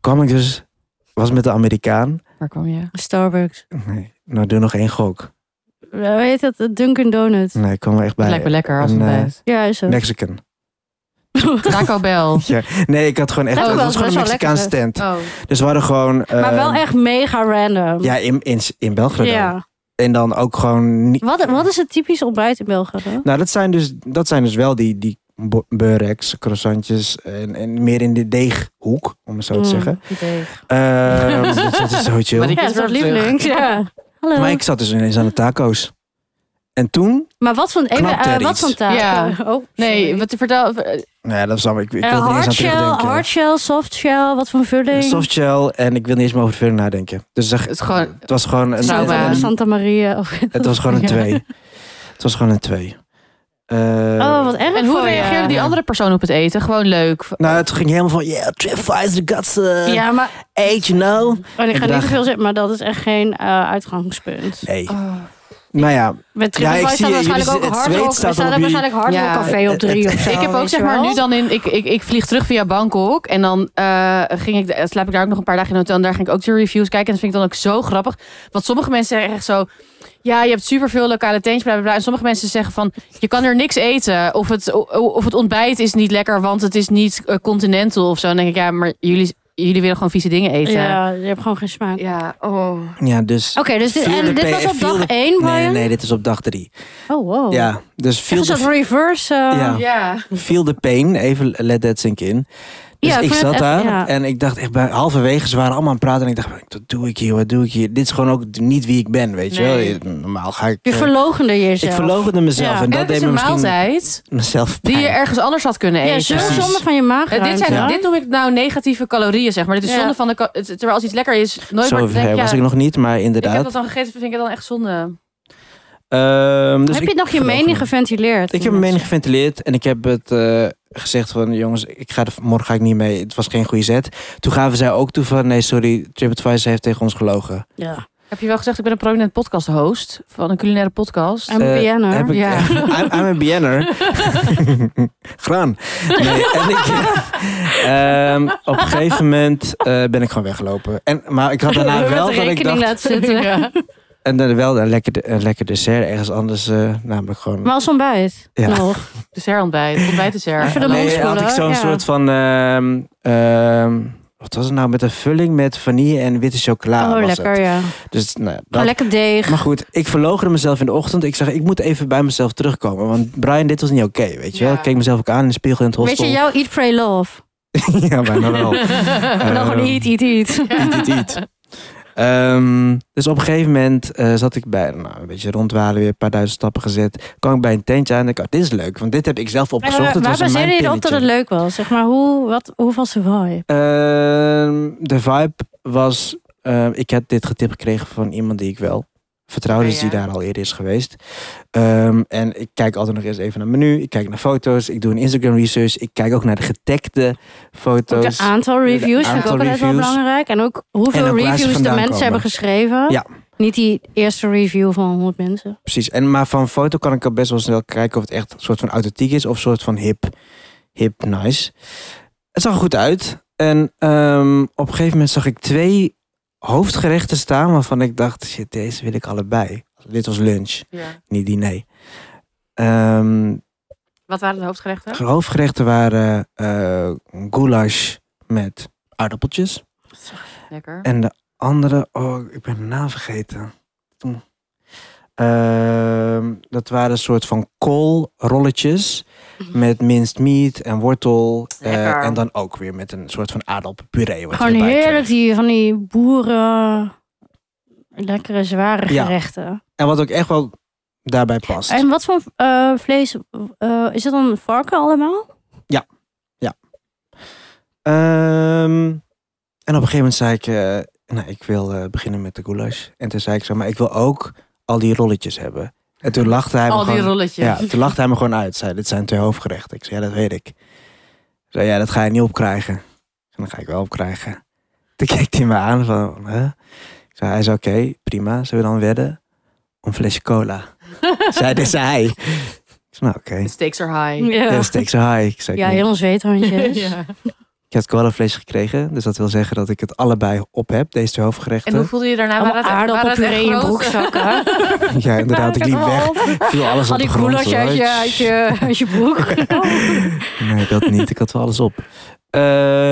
Kwam ik dus, was met de Amerikaan. Waar kwam je? Starbucks. Eh, Nee, nou doe nog één gok. Hoe heet dat? Het Dunkin' Donut. Nee, ik kwam er echt Dat bij. lijkt me lekker als een, eh, ontbijt. Ja, is zo. Mexican. Taco Bell. Ja, nee, ik had gewoon echt. Dat Het is was wel gewoon een best wel Mexicaanse tent. Oh. Dus we hadden gewoon. eh, Maar wel echt mega random. Ja, in, in, in Belgrado. Ja. En dan ook gewoon. Niet, Wat, wat is het typisch ontbijt in België? Nou, dat zijn dus, dat zijn dus wel die, die bo- bureks, croissantjes. En, en meer in de deeghoek, om het zo te Mm. zeggen. Idee. Ehm, dat, dat is zo Maar chill. Maar, die- Ja, is dat is wel terug. lievelings. Ja. Hallo. ik zat dus ineens aan de taco's. En toen. Maar wat van, even, Knapt eh, er wat iets? van taart? Ja. Oh, Nee, sorry. wat vertel... eh, Nou ja, dat was allemaal. Ik, ik Eh, wil er niet eens aan hard shell, terugdenken. hard shell, soft shell, wat voor vulling? Soft shell. En ik wil niet eens meer over verder nadenken. Dus zeg, Het is gewoon... het was gewoon een, Trauma. een- Eh, Santa Maria. Oh, Het was gewoon een Ja. twee. Het was gewoon een twee. Eh, oh, wat erg En hoe voor je. reageerde die andere persoon op het eten? Gewoon leuk. Nou, het ging helemaal van, yeah, trip flies, the guts, eh, Ja, maar eight, you know. en ik ga Dag. niet te veel zeggen, maar dat is echt geen eh, uitgangspunt. Nee, Oh. nou ja. Met Ja, ik Triple zie staat je, waarschijnlijk jullie- ook het hard zweet rock. We staat staan op jullie- waarschijnlijk hard rock Ja. café op Het- drie het- of zo. Ik heb ook weet zeg je maar wel? nu dan in, ik, ik, ik vlieg terug via Bangkok en dan eh, ging ik, eh, slaap ik daar ook nog een paar dagen in een hotel en daar ging ik ook de reviews kijken en dat vind ik dan ook zo grappig. Want sommige mensen zeggen echt zo, ja je hebt superveel lokale tentjes, bla bla bla. En sommige mensen zeggen van, je kan er niks eten of het, o- of het ontbijt is niet lekker, want het is niet eh, continental of zo. En dan denk ik, ja maar jullie, jullie willen gewoon vieze dingen eten. Ja, je hebt gewoon geen smaak. Oké, Ja, oh. Ja, dus... dus dit, Viel en de dit P- was op viel dag de- één, Nee, nee, Brian? nee, dit is op dag drie. Oh, wow. Ja, dus Echt feel een soort the, reverse... eh, Ja. Ja. feel the pain, even let that sink in. Dus Ja, ik ik vind het zat echt- daar ja. en ik dacht echt, bij halverwege, ze waren allemaal aan het praten. En ik dacht, wat doe ik hier, wat doe ik hier? Dit is gewoon ook niet wie ik ben, weet Nee. je wel. Normaal ga ik... Je eh, verlogende ik jezelf. verlogende mezelf Ja. en En dat het is deed me een misschien maaltijd mezelf die je pijn. ergens anders had kunnen Ja, eten. zo Precies. zonde van je maag. Eh, dit, zijn, Ja. dit noem ik nou negatieve calorieën, zeg maar. Dit is Ja. zonde van de... ka- het- Terwijl als iets lekker is, nooit Zo meer te denken, ver was ja, ik nog niet, maar Ik inderdaad. heb dat dan gegeten, vind ik het dan echt zonde. Ehm, dus Heb ik je nog je verloog mening me. geventileerd? Ik heb mijn mening geventileerd en ik heb het eh, gezegd van jongens, ik ga er, morgen ga ik niet mee. Het was geen goede zet. Toen gaven zij ook toe van nee, sorry, TripAdvisor heeft tegen ons gelogen. Ja. Heb je wel gezegd, ik ben een prominent podcast host van een culinaire podcast. I'm a Eh, BN'er. Heb ik, Ja. I'm, I'm a BN'er. Graan. Nee, en ik, ehm, op een gegeven moment eh, ben ik gewoon weggelopen. En, maar ik had daarna Met wel de dat ik rekening dacht... laten zitten. En dan wel een lekker, de- een lekker dessert ergens anders, eh, namelijk gewoon... Maar als ontbijt Ja. nog. Dessertontbijt, ontbijtdessert. Even de Hallo. mond nee, had ik spoelen, zo'n ja. soort van ehm, ehm, Wat was het nou? Met een vulling met vanille en witte chocola. oh, was lekker, Het. ja. Dus nou, ja, Gewoon dat- lekker deeg. Maar goed, ik verlogerde mezelf in de ochtend. Ik zeg, ik moet even bij mezelf terugkomen. Want Brian, dit was niet oké, weet je wel. Ja. Ik keek mezelf ook aan in de spiegel in het Weet hostel. je, jouw eat, pray, love. ja, bijna wel. En dan Eh, gewoon eat, eat, eat. Eat, eat, eat. Ehm, dus op een gegeven moment eh, zat ik bij, nou, een beetje rondwalen, weer een paar duizend stappen gezet. Kwam ik bij een tentje aan en ik dacht, dit is leuk, want dit heb ik zelf opgezocht. Maar het Eh, waar was in mijn baseerde je erop dat het pilletje. leuk was? Zeg maar, hoe, wat, hoe was de vibe? Ehm, de vibe was, ehm, ik had dit getipt gekregen van iemand die ik wel vertrouwde, Oké, dus die ja. daar al eerder is geweest. Ehm, en ik kijk altijd nog eens even naar het menu, ik kijk naar foto's, ik doe een Instagram research, ik kijk ook naar de getagde Ook foto's. de aantal reviews vind ik aantal ook altijd wel reviews. belangrijk. En ook hoeveel En ook waar ze reviews de vandaan mensen komen. hebben geschreven. Ja. Niet die eerste review van 100 mensen. Precies. En maar van foto kan ik al best wel snel kijken of het echt een soort van authentiek is of een soort van hip, hip nice. Het zag er goed uit. En ehm, op een gegeven moment zag ik twee hoofdgerechten staan waarvan ik dacht, shit, deze wil ik allebei. Dit was lunch, niet diner. Ehm, Wat waren de hoofdgerechten? de hoofdgerechten waren eh, goulash met aardappeltjes. Lekker. En de andere, oh, ik ben de naam vergeten. Hm. Ehm, dat waren een soort van koolrolletjes met minced meat en wortel. eh, Lekker. en dan ook weer met een soort van aardappelpuree. wat je Gewoon erbij heerlijk kreeg. die van die boeren. Lekkere, zware Ja. gerechten. En wat ook echt wel daarbij past. En wat voor eh, vlees? eh, is dat dan varken allemaal? Ehm, en op een gegeven moment zei ik, eh, nou, ik wil eh, beginnen met de goulash. En toen zei ik zo, maar ik wil ook al die rolletjes hebben. En toen lachte hij me Al die gewoon rolletjes. Ja, toen lachte hij me gewoon uit. Zei, dit zijn twee hoofdgerechten. Ik zei, ja, dat weet ik. Zei, ja, dat ga je niet opkrijgen. Ik zei, dan ga ik wel opkrijgen. Toen keek hij me aan van, hè? Ik zei, hij is oké, prima. Zullen we dan wedden? Om een flesje cola. zei, dit zei hij. Ik zei, nou oké. The stakes are high. Ja, steek ze high. Ik, zei, Ja, ik, heel ons weethandjes. Ja. ik heb het cola flesje gekregen. Dus dat wil zeggen dat ik het allebei op heb, deze twee hoofdgerechten. En hoe voelde je daarna? Allemaal aardappelpuree in je broekzakken. Ja, inderdaad, ik liep weg. Viel alles Al op de die grond. goulash hoor. uit je, uit je, uit je broek. Nee, dat niet. Ik had wel alles op. Ehm,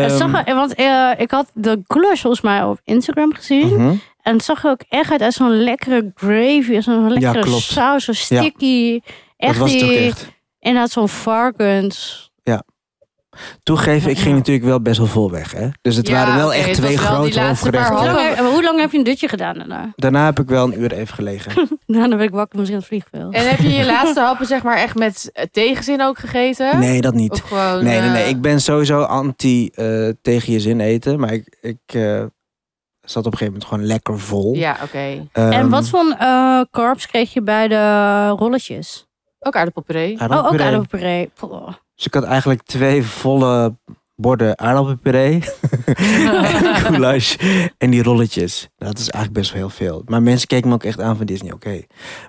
Het zag er, want eh, ik had de goulash volgens mij op Instagram gezien. mhm. En het zag er ook echt uit als zo'n lekkere gravy. als Zo'n lekkere klopt. saus, zo sticky. Echt dat was het ook die, echt. inderdaad zo'n varkens. Toegeven, ik ging natuurlijk wel best wel vol weg. Hè? Dus het Ja, waren wel oké, echt het was twee wel die grote laatste paar Hoe Ja. hoofdgerechten. hap. lang, heb- hoe lang heb je een dutje gedaan daarna? Daarna heb ik wel een uur even gelegen. Daarna ben ik wakker misschien aan het vliegveld. En heb je je laatste happen zeg maar echt met eh, tegenzin ook gegeten? Nee, dat niet. Of gewoon... Nee, nee, nee. eh, Ik ben sowieso anti eh, tegen je zin eten. Maar ik, ik eh, zat op een gegeven moment gewoon lekker vol. Ja, oké. en Ehm, wat voor eh korps kreeg je bij de rolletjes? Ook Ah, aardappelpuree. Oh, ook aardappelpuree. aardappelpuree. Poh. Dus ik had eigenlijk twee volle borden aardappelpuree. en goulash. En die rolletjes. Nou, dat is eigenlijk best wel heel veel. Maar mensen keken me ook echt aan van, dit is niet oké.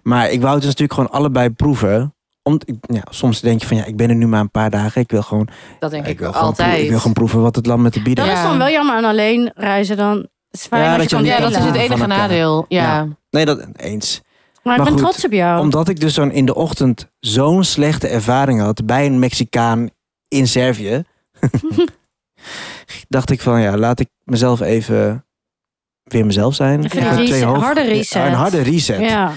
Maar ik wou het dus natuurlijk gewoon allebei proeven. Om, ik- ja, soms denk je van, ja, ik ben er nu maar een paar dagen. Ik wil gewoon, Dat denk ik, wil gewoon, proe- altijd. ik wil gewoon proeven wat het land me te bieden Dat Ja. heeft. is dan wel jammer aan alleen reizen dan. Het is fijn Ja, als dat je je kan niet ja, dat is het Ja, enige van elkaar. nadeel. Ja. Nee, dat eens. Maar ik Maar ben goed, trots op jou. Omdat ik dus zo'n in de ochtend zo'n slechte ervaring had bij een Mexicaan in Servië. dacht ik van, ja, laat ik mezelf even weer mezelf zijn. Even Ik een heb reset, hoofd- harde reset. Een harde reset. Ja.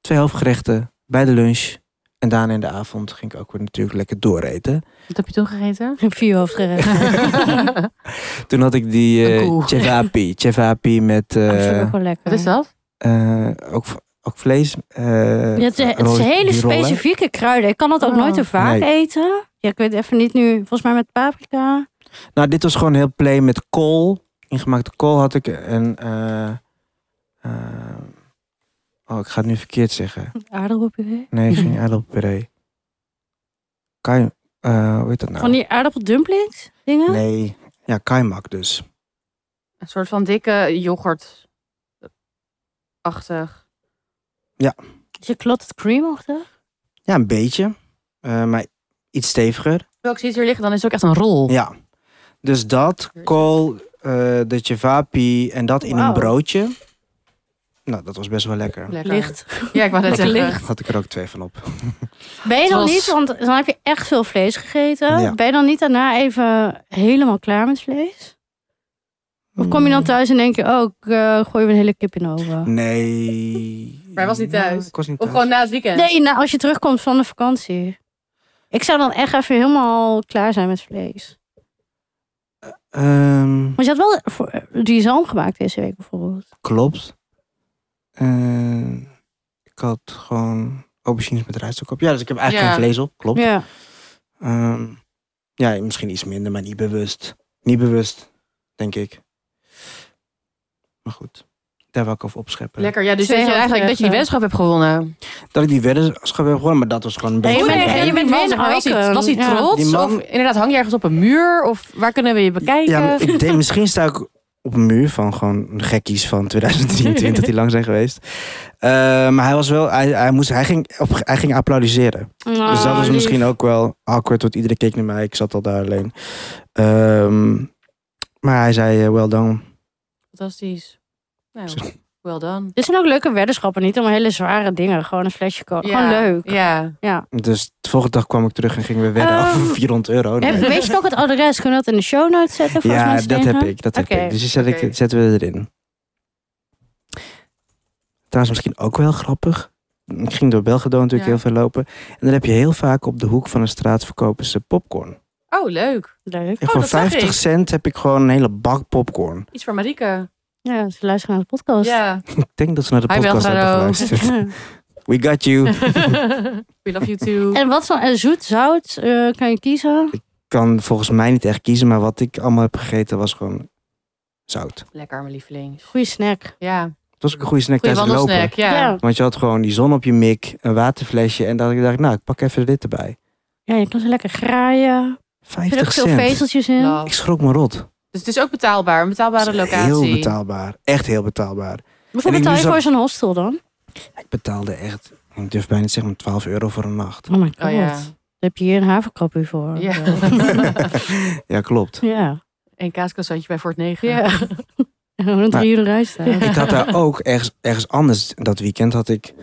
twee hoofdgerechten bij de lunch. En daarna in de avond ging ik ook weer natuurlijk lekker dooreten. Wat heb je toen gegeten? Ik heb vier hoofdgerechten. Toen had ik die Een eh koe. cevapi. Cevapi met eh, Dat vind ik ook wel lekker. Wat is dat? eh, ook, v- ook vlees. eh, Ja, het, is- het is rood- hele die rollen. specifieke kruiden. Ik kan dat ook Oh. nooit te vaak Nee. eten. Ja, ik weet even niet nu. Volgens mij met paprika. Nou, dit was gewoon heel plain met kool. Ingemaakte kool had ik. En, eh, eh, oh, ik ga het nu verkeerd zeggen. Aardappelpuree. Nee, geen aardappelpuree. Kai, eh, hoe heet dat Van nou? die aardappeldumplings dingen. Nee, ja, kaimak dus. Een soort van dikke yoghurt. Achtig. Is je clotted cream achter? Ja, een beetje. Eh, maar iets steviger. Welk ziet hier liggen, dan is het ook echt een rol. Ja. Dus dat, kool, eh, de cevapi en dat in een Wauw. broodje. Nou, dat was best wel lekker. Lekker. Licht. Ja, ik wou net Lekker zeggen. licht. Had ik er ook twee van op. Ben je Het dan was- niet, want dan heb je echt veel vlees gegeten. Ja. Ben je dan niet daarna even helemaal klaar met vlees? Of kom je Mm. dan thuis en denk je, oh, ik eh, gooi weer een hele kip in de oven? Nee. Maar hij was niet thuis. Ja, ik was niet Of thuis. gewoon na het weekend. Nee, nou, als je terugkomt van de vakantie. Ik zou dan echt even helemaal klaar zijn met vlees. Ehm, Want je had wel voor- die zalm gemaakt deze week bijvoorbeeld. klopt. Eh, ik had gewoon aubergines met rijstok op. Ja, dus ik heb eigenlijk Ja. geen vlees op. Klopt. Ja. Ehm, ja, misschien iets minder, maar niet bewust. Niet bewust, denk ik. Maar goed, daar wil ik over opscheppen. Lekker, ja, dus Twee dat je eigenlijk dat je die handgerechten. wedstrijd hebt gewonnen. Dat ik die weddenschap heb gewonnen, maar dat was gewoon een beetje... je bent- en je bent man, bezig was hij, hiken. was hij Ja. trots? Die man- Of inderdaad, hang je ergens op een muur? Of waar kunnen we je bekijken? Ja, maar ik denk, misschien sta ik op een muur van gewoon de gekkies van 2023 die lang zijn geweest. Eh, maar hij was wel, hij, hij, moest, hij, ging, op, hij ging applaudisseren. Dus dat Ah, Oh, was lief. misschien ook wel awkward, want iedereen keek naar mij. Ik zat al daar alleen. Ehm, maar hij zei, eh, well done. Fantastisch. Nou, well done. Dit zijn ook leuke weddenschappen, niet allemaal hele zware dingen. Gewoon een flesje koken. Ja, Gewoon leuk. Ja. Dus de volgende dag kwam ik terug en gingen we wedden Ehm, Oh. over 400 euro. Nee. Heb- Weet je nog het adres? Kunnen we dat in de show notes zetten? voor als Ja, mensen dat denken? heb ik. Dat heb Oké, ik. Dus die zet ik- oké. zetten we erin. Trouwens, misschien ook wel grappig. Ik ging door Belgrado natuurlijk Ja. heel veel lopen. En dan heb je heel vaak op de hoek van een straat verkopen ze popcorn. Oh, leuk. Leuk. En Oh, voor dat zag 50 ik. cent heb ik gewoon een hele bak popcorn. Iets voor Marieke. Ja, ze luisteren naar de podcast. Ja. Ik denk dat ze naar de Hi, podcast hebben Belgrado. geluisterd. We got you. We love you too. en wat van en zoet, zout, eh, kan je kiezen? Kan volgens mij niet echt kiezen, maar wat ik allemaal heb gegeten was gewoon zout. Lekker, mijn lieveling. Goeie snack. Ja. Het was ook een goede snack Goeie tijdens het lopen. wandelsnack. Ja. ja. Want je had gewoon die zon op je mik, een waterflesje. En dat ik dacht, nou, ik pak even dit erbij. Ja, je kan ze lekker graaien. Er 50 zitten ook veel cent. vezeltjes in. Love. Ik schrok me rot. Dus het is ook betaalbaar. Een betaalbare Het is locatie. Heel betaalbaar. Echt heel betaalbaar. Hoeveel En ik betaal je moest voor zo'n hostel dan? Ik betaalde echt, ik durf bijna te zeggen, maar 12 euro voor een nacht. Oh my god. Oh ja. Daar heb je hier een haverkappie voor. Ja. ja, klopt. Ja. Een kaaskassantje bij Fort 9. Ja. Gewoon een drie uur in rij staan. Ik had daar ook ergens, ergens anders, dat weekend had ik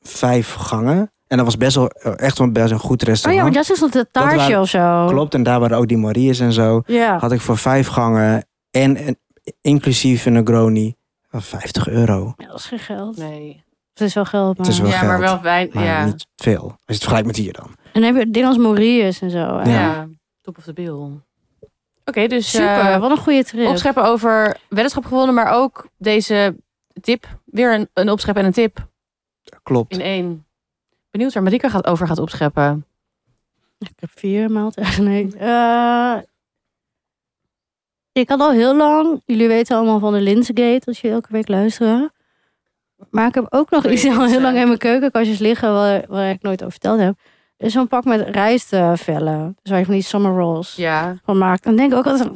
vijf gangen. En dat was best wel, echt wel best een goed Oh ja, restaurant. want dat is nog de waren- taartje of zo. Klopt, en daar waren ook die Maria's en zo. Ja. Had ik voor vijf gangen en, en inclusief een Negroni, eh, 50 euro. Ja, Dat is geen geld. Nee. Het is wel geld, maar... Het is wel ja, maar geld, wel wijn. Maar ja. niet veel. Als je het vergelijkt met hier dan. En dan heb je dingen als Morius en zo. hè? ja. Ja. Top of the bill. Oké, dus Super, eh, wat een goede trip. opscheppen over weddenschap gewonnen, maar ook deze tip. Weer een, een opschep en een tip Klopt. in één. Benieuwd waar Marika gaat over gaat opscheppen. Ik heb vier maaltijden. Nee. Eh, ik had al heel lang, jullie weten allemaal van de Linsgate, als je elke week luisteren. Maar ik heb ook nog Goeie iets al heel insight. lang in mijn keukenkastjes liggen, waar, waar ik nooit over verteld heb. Is zo'n pak met rijstvellen. Dus waar je van die summer rolls Ja. van maakt. Dan denk ik ook altijd,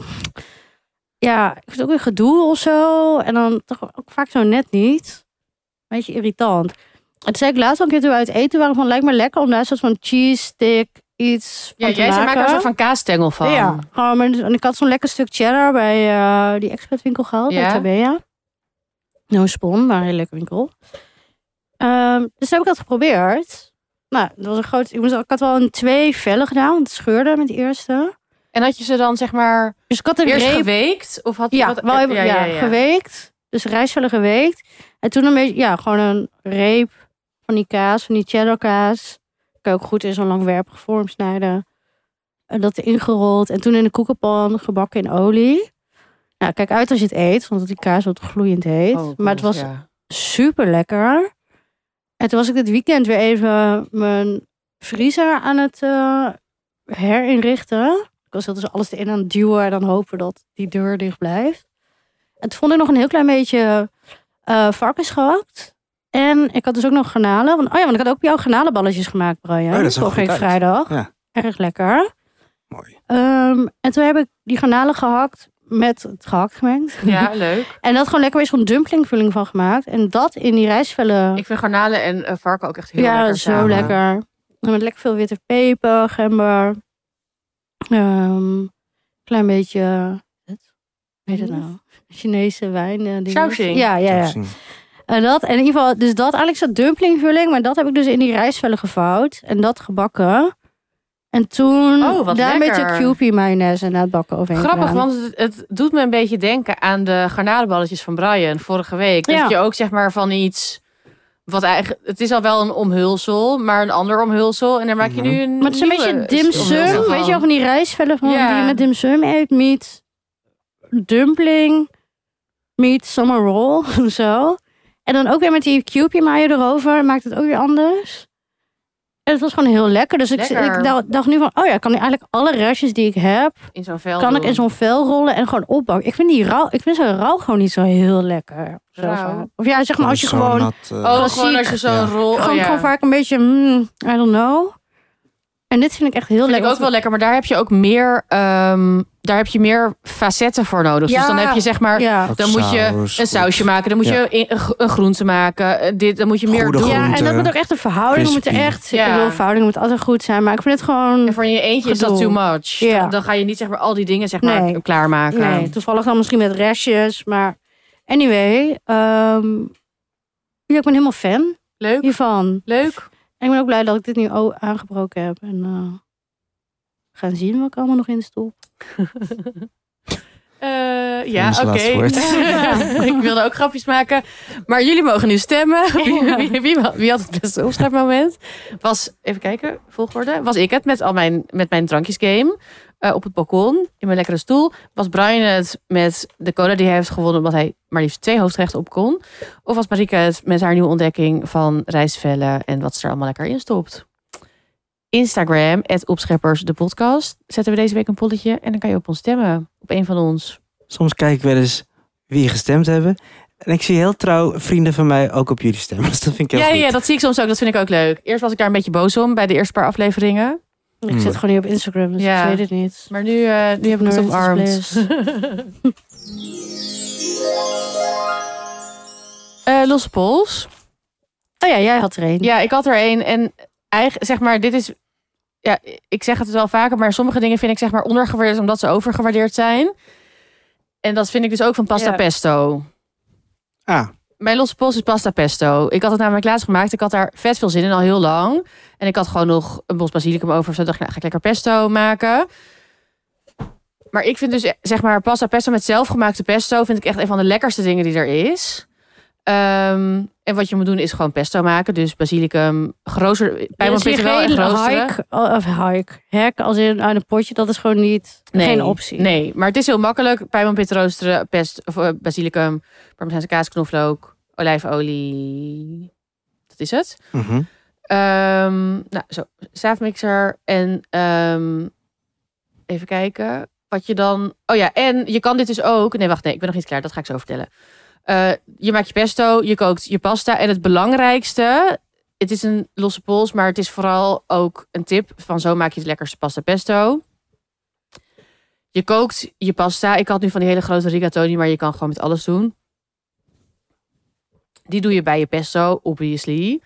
ja, ik vind het ook een gedoe of zo. En dan toch ook vaak zo net niet. Beetje irritant. En toen zei ik laatst al een keer toen we uit eten waren van, lijkt me lekker om daar een soort van cheese stick iets van ja te jij zei, maken. maak er een soort van kaasstengel van. Ja, gewoon met- en ik had zo'n lekker stuk cheddar bij eh, die expertwinkel gehaald, Ja. bij Tabea. No Spon, maar een hele leuke winkel. Ehm, dus toen heb ik dat geprobeerd. Nou, dat was een groot... Ik, moest, ik had wel een twee vellen gedaan, want het scheurde met de eerste. En had je ze dan zeg maar Dus ik had een eerst reep geweekt? Of had je ja, wat, wel even- ja, geweekt. Dus rijstvelden geweekt. En toen een beetje, ja, gewoon een reep van die kaas, van die cheddar kaas. Kan je ook goed in zo'n langwerpige vorm snijden. En dat ingerold. En toen in de koekenpan gebakken in olie. Nou, kijk uit als je het eet, want die kaas wordt gloeiend heet. Oh, maar het goed, was ja. super lekker. En toen was ik dit weekend weer even mijn vriezer aan het eh, herinrichten. Ik was heel dus alles erin aan het duwen en dan hopen dat die deur dicht blijft. En toen vond ik nog een heel klein beetje eh varkens gehakt. En ik had dus ook nog granalen. Want, oh ja, want ik had ook jouw granalenballetjes gemaakt, Brian. Oh, dat zag Vorige goed week uit. vrijdag. Ja. Erg lekker. Mooi. Ehm, en toen heb ik die granalen gehakt met het gehakt gemengd. Ja, leuk. En dat gewoon lekker weer zo'n dumplingvulling van gemaakt. En dat in die rijstvellen. Ik vind garnalen en eh, varken ook echt heel ja, lekker zo samen. lekker. En met lekker veel witte peper, gember. Ehm, klein beetje... Wat? Weet het nou? Chinese wijn. eh, dinges. Sausing. Ja, ja, ja. Zo zien. En dat, en in ieder geval, dus dat eigenlijk zo'n dumplingvulling. Maar dat heb ik dus in die rijstvellen gevouwd. En dat gebakken. En En toen Oh, wat daar een lekker. beetje Kewpie mayonaise na het bakken overheen Grappig, gedaan. want het, het doet me een beetje denken aan de garnalenballetjes van Brian vorige week. Ja. Dat je ook zeg maar van iets wat eigenlijk het is al wel een omhulsel, maar een ander omhulsel en daar maak je nu een Maar het is een beetje dim sum. Weet je wel, van die rijstvellen van Ja. die je met dim sum eet. Meat dumpling. Meat summer roll. Zo. En dan ook weer met die cupie mayo erover. Maakt het ook weer anders. En het was gewoon heel lekker. Dus ik, Lekker. ik dacht- dacht nu van, oh ja, ik kan nu eigenlijk alle restjes die ik heb, in zo'n vel kan ik in zo'n vel rollen en gewoon opbakken. Ik vind die rauw, ik vind zo'n rauw gewoon niet zo heel lekker. Zo Rauw. van. Of ja, zeg maar als je Zo'n gewoon nat, eh, oh klassiek. gewoon als je zo'n Ja. rol oh, gewoon, ja. gewoon vaak een beetje, hmm, I don't know. En dit vind ik echt heel Vind ik lekker. ook wel lekker, maar daar heb je ook meer, ehm, daar heb je meer facetten voor nodig. Dus Ja. dan heb je zeg maar, Ja. dan moet je Saus, een sausje maken, dan moet Ja. je een- een, gro- een groente maken, eh, dit, dan moet je meer Goede doen. groente. Ja, en dat moet ook echt een verhouding moeten crispy. echt. Ja. Ik bedoel, verhouding moet altijd goed zijn, maar ik vind het En gewoon. voor in je eentje is dat too Gedoe. much. Ja. Dan, dan ga je niet zeg maar al die dingen zeg maar Nee. klaarmaken. Nee, toevallig dan misschien met restjes, maar anyway. ehm, ja, ik ben helemaal fan Leuk, hiervan. leuk. En ik ben ook blij dat ik dit nu o- aangebroken heb en eh, gaan zien wat ik allemaal nog in stop. Eh, ja, Ons oké. laatste woord. ik wilde ook grapjes maken. Maar jullie mogen nu stemmen. Wie, wie, wie, wie had het beste opschrijfmoment? Was, even kijken, volgorde. Was ik het met al mijn, met mijn drankjesgame eh, op het balkon in mijn lekkere stoel? Was Brian het met de cola die hij heeft gewonnen omdat hij maar liefst twee hoofdrechten op kon? Of was Marike het met haar nieuwe ontdekking van rijstvellen en wat ze er allemaal lekker in stopt? Instagram, het opscheppers, de podcast. Zetten we deze week een polletje en dan kan je op ons stemmen. Op een van ons. Soms kijk ik wel eens wie gestemd hebben. En ik zie heel trouw vrienden van mij ook op jullie stemmen. Dus dat vind ik heel Ja, goed. ja, dat zie ik soms ook. Dat vind ik ook leuk. Eerst was ik daar een beetje boos om bij de eerste paar afleveringen. Ik zit gewoon niet op Instagram, dus Ja. ik weet het niet. Maar nu, eh, nu heb ik het Ignorance is omarmd. bliss. Eh losse pols. Oh ja, jij had er een. Ja, ik had er één. En eigenlijk, zeg maar, dit is... Ja, ik zeg het dus wel vaker, maar sommige dingen vind ik zeg maar ondergewaardeerd omdat ze overgewaardeerd zijn. En dat vind ik dus ook van pasta Ja. pesto. Ah, Mijn losse pols is pasta pesto. Ik had het namelijk laatst gemaakt. Ik had daar vet veel zin in, al heel lang. En ik had gewoon nog een bos basilicum over. Dus ik dacht, nou, ga ik lekker pesto maken. Maar ik vind dus, eh, zeg maar, pasta pesto met zelfgemaakte pesto... vind ik echt een van de lekkerste dingen die er is. Ehm, en wat je moet doen is gewoon pesto maken. Dus basilicum, grozer, bij pijnboompitten wel en grozere. hike, of hike, hek als in uit een potje, dat is gewoon niet, geen optie. Nee, maar het is heel makkelijk. Pijnboompit roosteren, pest, of, eh, basilicum, parmezaanse kaas, knoflook, olijfolie. Dat is het. mhm. Ehm, nou, zo, staafmixer en ehm, even kijken wat je dan. Oh ja, en je kan dit dus ook. Nee, wacht, nee, ik ben nog niet klaar. Dat ga ik zo vertellen. Eh, je maakt je pesto, je kookt je pasta en het belangrijkste. Het is een losse pols, maar het is vooral ook een tip van zo maak je het lekkerste pasta pesto. Je kookt je pasta. Ik had nu van die hele grote rigatoni, maar je kan gewoon met alles doen. Die doe je bij je pesto, obviously.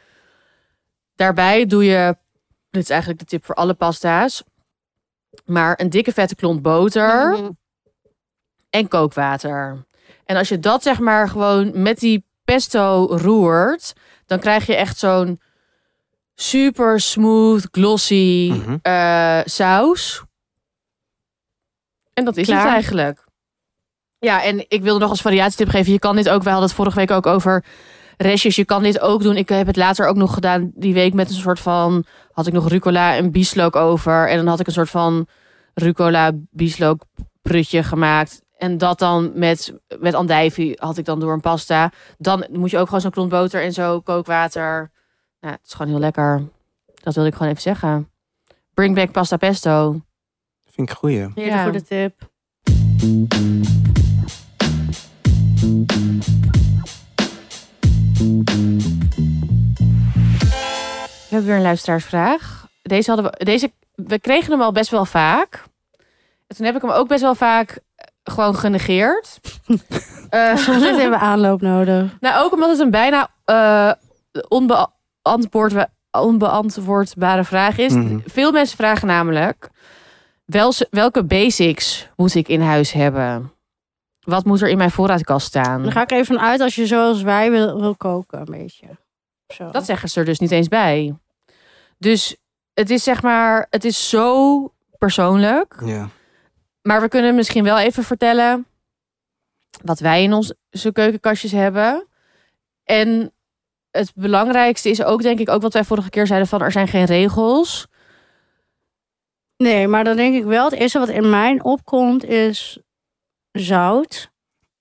Daarbij doe je, dit is eigenlijk de tip voor alle pasta's, maar een dikke vette klont boter Mhm. en kookwater. En als je dat zeg maar gewoon met die pesto roert, dan krijg je echt zo'n super smooth, glossy Mhm. eh, saus. En dat is Klaar. het eigenlijk. Ja, en ik wilde nog als variatietip geven. Je kan dit ook, we hadden het vorige week ook over restjes. Je kan dit ook doen. Ik heb het later ook nog gedaan die week met een soort van... Had ik nog rucola en bieslook over. En dan had ik een soort van rucola bieslook prutje gemaakt. En dat dan met, met andijvie had ik dan door een pasta. Dan moet je ook gewoon zo'n klont boter en zo kookwater. Nou, het is gewoon heel lekker. Dat wilde ik gewoon even zeggen. Bring back pasta pesto. vind ik een goeie. Hele Ja. goede tip. We hebben weer een luisteraarsvraag. Deze hadden we, deze, we kregen hem al best wel vaak. En toen heb ik hem ook best wel vaak eh, gewoon genegeerd. Eh, Soms hebben we aanloop nodig. nou, ook omdat het een bijna eh onbeantwoord, onbeantwoordbare vraag is. Mhm. Veel mensen vragen namelijk: wel, welke basics moet ik in huis hebben? Wat moet er in mijn voorraadkast staan? Dan ga ik even vanuit als je zoals wij wil, wil koken, een beetje. Zo. Dat zeggen ze er dus niet eens bij. Dus het is zeg maar, het is zo persoonlijk. Ja. Maar we kunnen misschien wel even vertellen wat wij in onze keukenkastjes hebben. En het belangrijkste is ook, denk ik, ook wat wij vorige keer zeiden van er zijn geen regels. Nee, maar dan denk ik wel, het eerste wat in mijn opkomt is zout.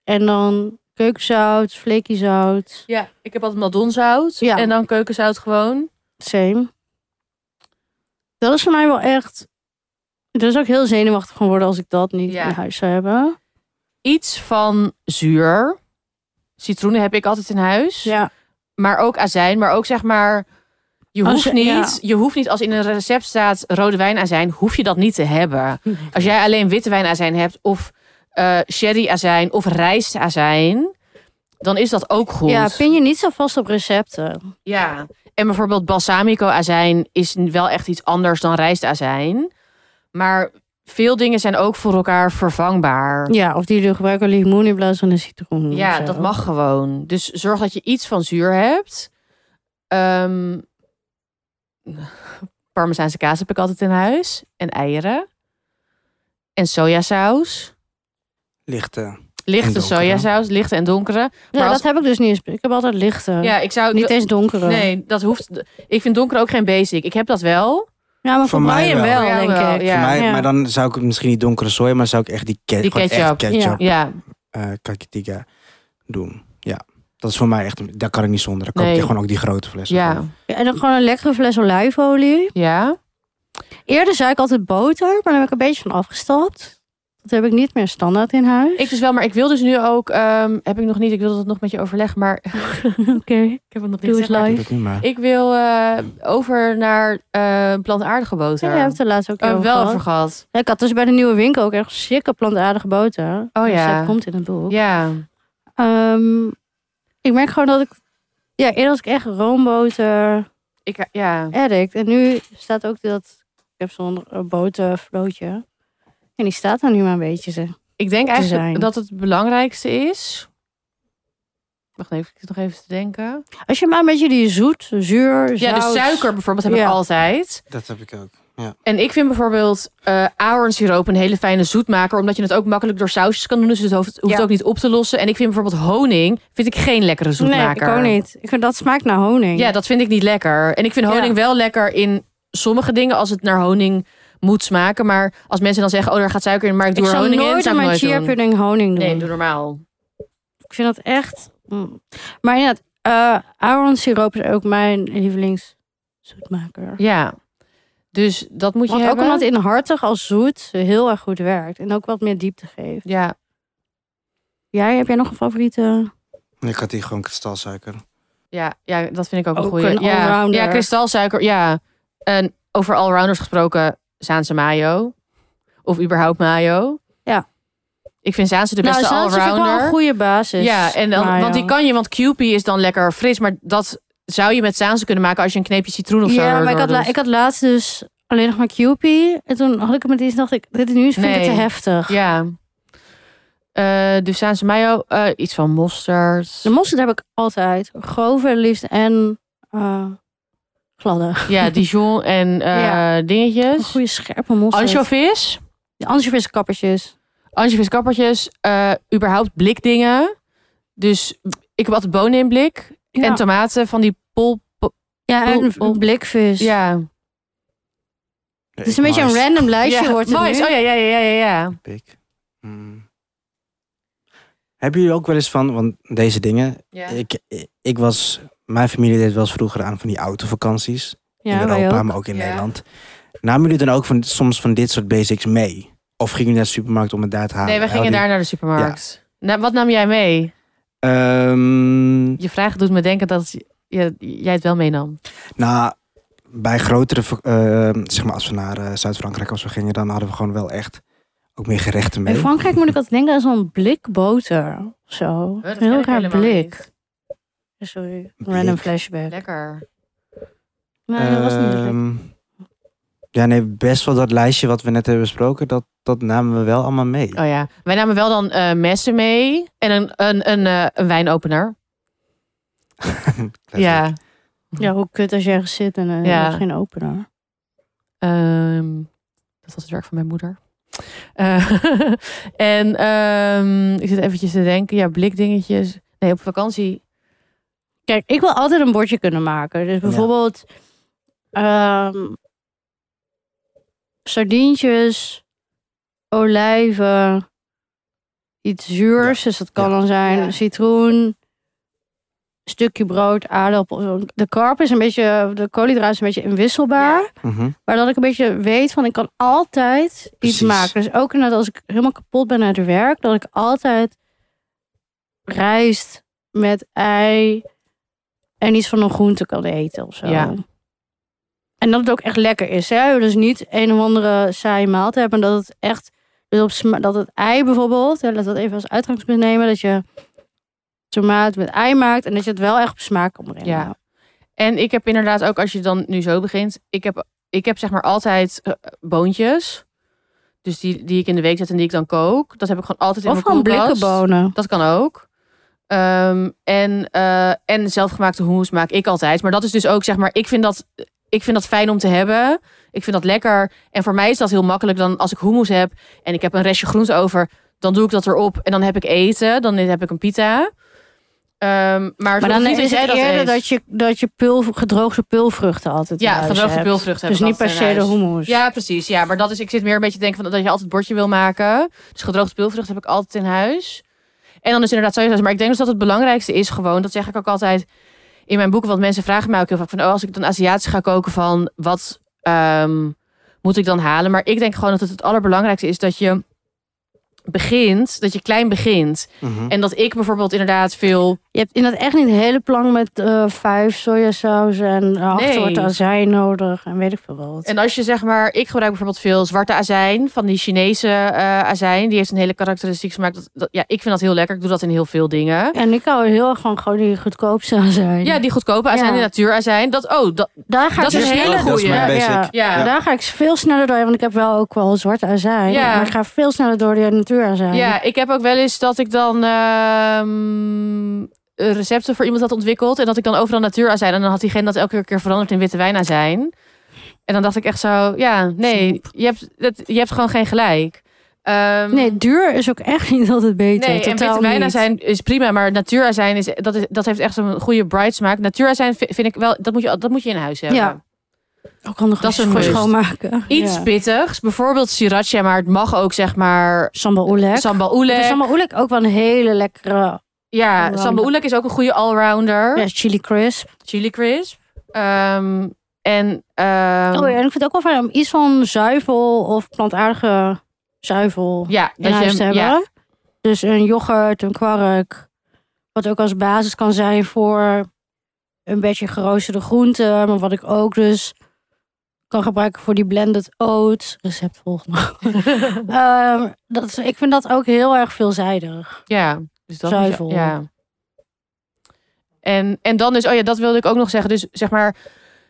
En dan keukenzout, fleekiezout, Ja, ik heb altijd madonzout Ja. en dan keukenzout gewoon. same. Dat is voor mij wel echt... Daar zou ik heel zenuwachtig van worden als ik dat niet Ja. in huis zou hebben. Iets van zuur. Citroenen heb ik altijd in huis. Ja, Maar ook azijn, maar ook zeg maar... Je Als hoeft, je- niet, ja. je hoeft niet, als in een recept staat rode wijnazijn, hoef je dat niet te hebben. Als jij alleen witte wijnazijn hebt, of eh sherryazijn, of rijstazijn, dan is dat ook goed. ja pin je niet zo vast op recepten. Ja. En bijvoorbeeld balsamicoazijn is n- wel echt iets anders dan rijstazijn. Maar veel dingen zijn ook voor elkaar vervangbaar. Ja, of die jullie gebruiken limoen in plaats van een citroen. of Ja, zo. dat mag gewoon. Dus zorg dat je iets van zuur hebt. Ehm Parmezaanse kaas heb ik altijd in huis. En eieren. En sojasaus. Lichte. Lichte donkere. sojasaus, lichte en donkere. Ja, Maar als- dat heb ik dus niet eens. Ik heb altijd lichte. Ja, ik zou... niet eens donkere. nee, dat hoeft... Ik vind donker ook geen basic. Ik heb dat wel. Ja, maar voor, Voor mij mij wel, wel. Voor jou denk wel, ik. ja. Voor mij, Ja. Maar dan zou ik het misschien niet donkere soja, maar zou ik echt die, ke Die gewoon echt ketchup. Ja. ketchup Ja, eh, kakitiga doen. Ja. Dat is voor mij echt, een- daar kan ik niet zonder. Dan koop je Nee. gewoon ook die grote flessen. ja, van. Ja, En dan gewoon een lekkere fles olijfolie. ja. Eerder zei ik altijd boter, maar daar heb ik een beetje van afgestapt. Dat heb ik niet meer standaard in huis. Ik dus wel, maar ik wil dus nu ook... ehm, heb ik nog niet, ik wilde dat nog met je overleggen, maar... Oké. Ik heb het nog Doe eens gezegd, maar live. Ik doe dat niet, maar Ik wil eh, over naar eh plantaardige Ja, boter. daar hebben we het er laatst ook Oh, over wel gehad. over gehad. Ja, Ik had dus bij de nieuwe winkel ook echt sikke plantaardige boter. Oh Dus ja. dat komt in het boek. Ja. Ehm, ik merk gewoon dat ik... Ja, eerder was ik echt roomboter Ik, eh, ja. addict. En nu staat ook dat... Ik heb zo'n eh, botervlootje. En die staat daar nu maar een beetje. Zeg. ik denk eigenlijk zijn. dat het belangrijkste is... Wacht even, ik zit nog even te denken. Als je maar een beetje die zoet, zuur, zout... Ja, de suiker bijvoorbeeld heb Ja. ik altijd. dat heb ik ook. En ik vind bijvoorbeeld eh ahornsiroop een hele fijne zoetmaker. Omdat je het ook makkelijk door sausjes kan doen. Dus het hoeft, hoeft Ja. ook niet op te lossen. En ik vind bijvoorbeeld honing vind ik geen lekkere Nee, zoetmaker. ik ook niet. Ik vind dat smaakt naar honing. Ja, dat vind ik niet lekker. En ik vind honing Ja. wel lekker in sommige dingen als het naar honing moet smaken. Maar als mensen dan zeggen, oh, daar gaat suiker in, maar ik doe ik er zou honing in, nooit zou aan ik mijn nooit chia doen. pudding honing doen. Nee, doe normaal. Ik vind dat echt... mm. Maar ja, eh Aaron siroop is ook mijn lievelingszoetmaker. Ja. Dus dat moet je Want ook hebben. omdat het in hartig als zoet heel erg goed werkt. En ook wat meer diepte geeft. Ja. Jij, heb jij nog een favoriete? Ik had hier gewoon kristalsuiker. Ja, ja, dat vind ik ook een Ook goede. een Ja, allrounder. ja, kristalsuiker. Ja. En over allrounders gesproken, Zaanse mayo. Of überhaupt mayo. Ja. Ik vind Zaanse de beste nou, Zaanse vind ik allrounder. wel een goede basis. Ja, en dan, Dus, Maar want die ja. kan je, want Kewpie is dan lekker fris, maar dat zou je met Zaanse kunnen maken als je een kneepje citroen of zo. Ja, maar ik erdoor had, la- doet. ik had laatst dus alleen nog maar Cupie. En toen had ik hem met iets en dacht ik, dit nu is vind ik Nee. het te heftig. Ja. Eh dus Zaanse mayo, eh, iets van mosterd. De mosterd heb ik altijd. Grove, liefst en eh, gladde. Ja, Dijon en eh, Ja. Een dingetjes. goede scherpe mosterd. Anchovies. De anchoviskappertjes. Anchovieskappertjes. eh überhaupt blikdingen. Dus ik heb altijd bonen in blik. Ja. En tomaten van die pol... pol- Ja, en Bol- bol- blikvis. ja. Het is een beetje een random lijstje ja. wordt het mais. nu. Oh ja, ja, ja, ja, ja. Pik. Mm. Hebben jullie ook wel eens van, want deze dingen, Ja. ik, ik was, mijn familie deed wel eens vroeger aan van die autovakanties Ja, in wij Europa, ook. maar ook in Ja. Nederland. Namen jullie dan ook van, soms van dit soort basics mee? Of gingen jullie naar de supermarkt om het daar te halen? Nee, we gingen daar naar de supermarkt. Na- wat nam jij mee? daar. Ehm, Je vraag doet me denken dat je, jij het wel meenam. nou, bij grotere, va- eh, zeg maar als we naar eh, Zuid-Frankrijk of zo gingen, dan hadden we gewoon wel echt ook meer gerechten mee. In Frankrijk moet ik altijd denken aan zo'n blik boter. of Zo. dat een ken heel ik raar helemaal blik. Sorry, random Blik. flashback. Lekker. Nee, dat was niet de blik. Ehm, ja, nee, best wel dat lijstje wat we net hebben besproken, dat, dat namen we wel allemaal mee. Oh ja. Wij namen wel dan eh, messen mee en een, een, een, eh, een wijnopener. Letterlijk. Ja. Ja, hoe kut als je ergens zit en eh, je Ja. hebt geen opener. Ehm, dat was het werk van mijn moeder. Eh, en ehm, ik zit eventjes te denken, ja, blikdingetjes. Nee, op vakantie. Kijk, ik wil altijd een bordje kunnen maken. Dus bijvoorbeeld ehm, sardientjes, olijven, iets zuurs. Dus dat kan Ja. dan zijn Ja. citroen, stukje brood, aardappel. zo. De karp is een beetje, de koolhydraten is een beetje inwisselbaar. Mhm. Maar dat ik een beetje weet van ik kan altijd iets Precies. maken. Dus ook inderdaad als ik helemaal kapot ben uit het werk, dat ik altijd rijst met ei en iets van een groente kan eten of zo. Ja. En dat het ook echt lekker is. Hè? Dus niet een of andere saaie maaltijd, maar dat het echt. Dus op, sma- dat het ei bijvoorbeeld, hè, laat dat even als uitgangspunt nemen, dat je tomaat met ei maakt en dat je het wel echt op smaak kan brengen. Ja. En ik heb inderdaad ook, als je dan nu zo begint, ik heb, ik heb zeg maar altijd eh, boontjes. Dus die, die ik in de week zet en die ik dan kook. Dat heb ik gewoon altijd in Of mijn gewoon koelkast. blikkenbonen. Dat kan ook. Ehm, en, eh, en zelfgemaakte hummus maak ik altijd. Maar dat is dus ook, zeg maar, ik vind dat, ik vind dat fijn om te hebben. Ik vind dat lekker. En voor mij is dat heel makkelijk dan als ik hummus heb en ik heb een restje groente over. Dan doe ik dat erop en dan heb ik eten. Dan heb ik een pita. Ehm, maar, Maar dan niet is jij het dat eerder eet. dat je, dat je pul, gedroogde pulvruchten altijd in Ja, huis gedroogde hebt. pulvruchten Dus heb ik niet per altijd se in de huis. hummus. Ja, precies. Ja, maar dat is, ik zit meer een beetje te denken van dat je altijd bordje wil maken. Dus gedroogd speelvrucht heb ik altijd in huis. En dan is inderdaad sojasaus. Maar ik denk dus dat het belangrijkste is gewoon, dat zeg ik ook altijd in mijn boeken, want mensen vragen mij ook heel vaak van, oh, als ik dan Aziatisch ga koken van, wat ehm, moet ik dan halen? Maar ik denk gewoon dat het het allerbelangrijkste is dat je begint, dat je klein begint. Mhm. En dat ik bijvoorbeeld inderdaad veel Je hebt inderdaad echt niet een hele plank met eh, vijf sojasaus en eh, acht Nee. soorten azijn nodig en weet ik veel wat. En als je zeg maar, ik gebruik bijvoorbeeld veel zwarte azijn van die Chinese eh, azijn. Die heeft een hele karakteristiek smaak. Dat, dat- ja, ik vind dat heel lekker. Ik doe dat in heel veel dingen. En ik hou heel erg van gewoon die goedkoopste azijn. Ja, die goedkope azijn, Ja. die natuurazijn. Dat, oh, dat, daar ga dat ik is dus een heel- hele Dat is goeie. mijn Ja, basic. ja. ja. Ja. Daar ga ik veel sneller doorheen, want ik heb wel ook wel zwarte azijn. Ja. Maar ik ga veel sneller door die natuurazijn. Ja, ik heb ook wel eens dat ik dan ehm, recepten voor iemand had ontwikkeld. En dat ik dan overal natuurazijn. En dan had diegene dat elke keer veranderd in witte wijnazijn. En dan dacht ik echt zo, ja, nee, je hebt, dat, je hebt gewoon geen gelijk. Ehm, Nee, duur is ook echt niet altijd beter. Nee, en Totaal witte niet. wijnazijn is prima, maar natuurazijn is dat, is dat heeft echt een goede bright smaak. Natuurazijn vi- vind ik wel dat moet je dat moet je in huis hebben. Ja. Ook handig Dat dat is is een voor must. schoonmaken. Iets Ja. pittigs, bijvoorbeeld sriracha, maar het mag ook zeg maar Sambal oelek. sambal Ik oelek. vind sambal oelek ook wel een hele lekkere ja, allrounder. sambal oelek is ook een goede allrounder. ja, chili crisp. Chili crisp. Ehm, en ehm, oh, ja, en ik vind het ook wel fijn om iets van zuivel of plantaardige zuivel ja, in dat huis je te hem- hebben. ja, Dus een yoghurt, een kwark. Wat ook als basis kan zijn voor een beetje geroosterde groenten. Maar wat ik ook dus kan gebruiken voor die blended oats. Recept volgende. Ehm, dat, is- ik vind dat ook heel erg veelzijdig. Ja, dus dat moet je- Zuivel. ja. En, en dan is, oh ja, dat wilde ik ook nog zeggen. Dus zeg maar,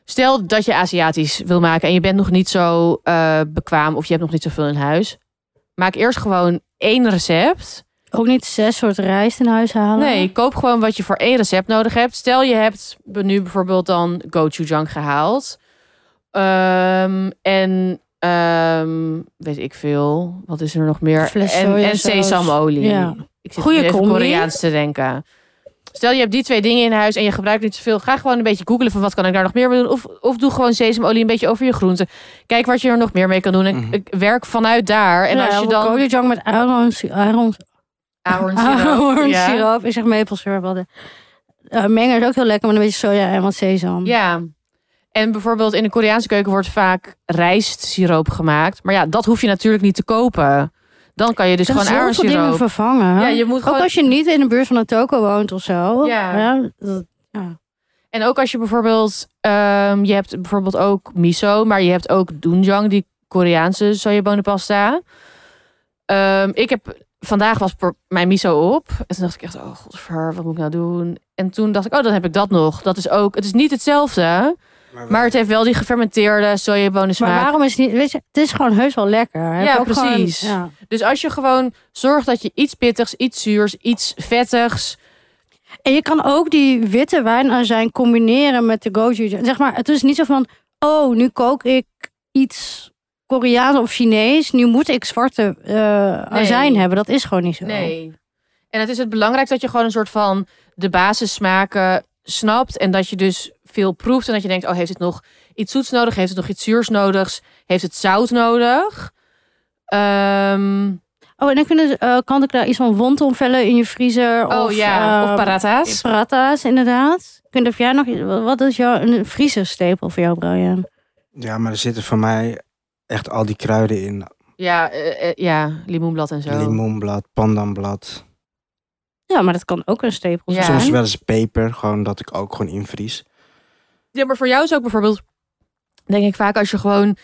stel dat je Aziatisch wil maken en je bent nog niet zo eh, bekwaam of je hebt nog niet zoveel in huis. Maak eerst gewoon één recept. Ook niet zes soorten rijst in huis halen. Nee, koop gewoon wat je voor één recept nodig hebt. Stel je hebt nu bijvoorbeeld dan gochujang gehaald. Ehm, en ehm, weet ik veel, wat is er nog meer? Fles en, en sojasaus. sesamolie. Ja. Ik zit Goeie nu even combi. Koreaans te denken. Stel, je hebt die twee dingen in huis en je gebruikt niet zoveel. Ga gewoon een beetje googelen van wat kan ik daar nog meer mee doen. Of, of doe gewoon sesamolie een beetje over je groenten. Kijk wat je er nog meer mee kan doen. En Mhm. ik werk vanuit daar. En Ja, als je dan... Kolenjang met ahornsi- ahorn- Ahornsiroop, ja. ahornsiroop. Ik zeg maple syrup altijd. Eh, mengen is ook heel lekker met een beetje soja en wat sesam. Ja. En bijvoorbeeld in de Koreaanse keuken wordt vaak rijstsiroop gemaakt. Maar ja, dat hoef je natuurlijk niet te kopen. Dan kan je dus Er zijn gewoon zoveel dingen ahornsiroop. vervangen. Ja, je moet Ook gewoon... als je niet in de buurt van een toko woont of zo. Ja. dat- ja. En ook als je bijvoorbeeld, ehm, je hebt bijvoorbeeld ook miso, maar je hebt ook doenjang, die Koreaanse sojabonenpasta. Ehm, ik heb vandaag was pro- mijn miso op. En toen dacht ik echt, oh godver, wat moet ik nou doen? En toen dacht ik, oh, dan heb ik dat nog. Dat is ook, het is niet hetzelfde, maar het heeft wel die gefermenteerde sojabonen Maar smaak. waarom is het niet... Weet je, het is gewoon heus wel lekker. Heb Ja, ook gewoon- precies. ja. Dus als je gewoon zorgt dat je iets pittigs, iets zuurs, iets vettigs. En je kan ook die witte wijnazijn combineren met de gochujang. Zeg maar, het is niet zo van... Oh, nu kook ik iets Koreaans of Chinees. Nu moet ik zwarte eh Nee. azijn hebben. Dat is gewoon niet zo. Nee. En het is het belangrijk dat je gewoon een soort van de basissmaken snapt. En dat je dus veel proeft. En dat je denkt, oh, heeft het nog iets zoets nodig? Heeft het nog iets zuurs nodig? Heeft het zout nodig? Ehm, Oh, en dan kunnen, ze- eh kan ik daar iets van wonton vellen in je vriezer? oh of, ja, eh, of paratha's. Paratha's, inderdaad. Kun je, of jij nog, iets- wat is jouw een vriezerstapel voor jou, Brian? Ja, maar er zitten voor mij echt al die kruiden in. Ja, eh, eh, ja, limoenblad en zo. Limoenblad, pandanblad. Ja, maar dat kan ook een stapel Ja. zijn. Soms wel eens peper, gewoon dat ik ook gewoon invries. Ja, maar voor jou is ook bijvoorbeeld, denk ik vaak als je gewoon...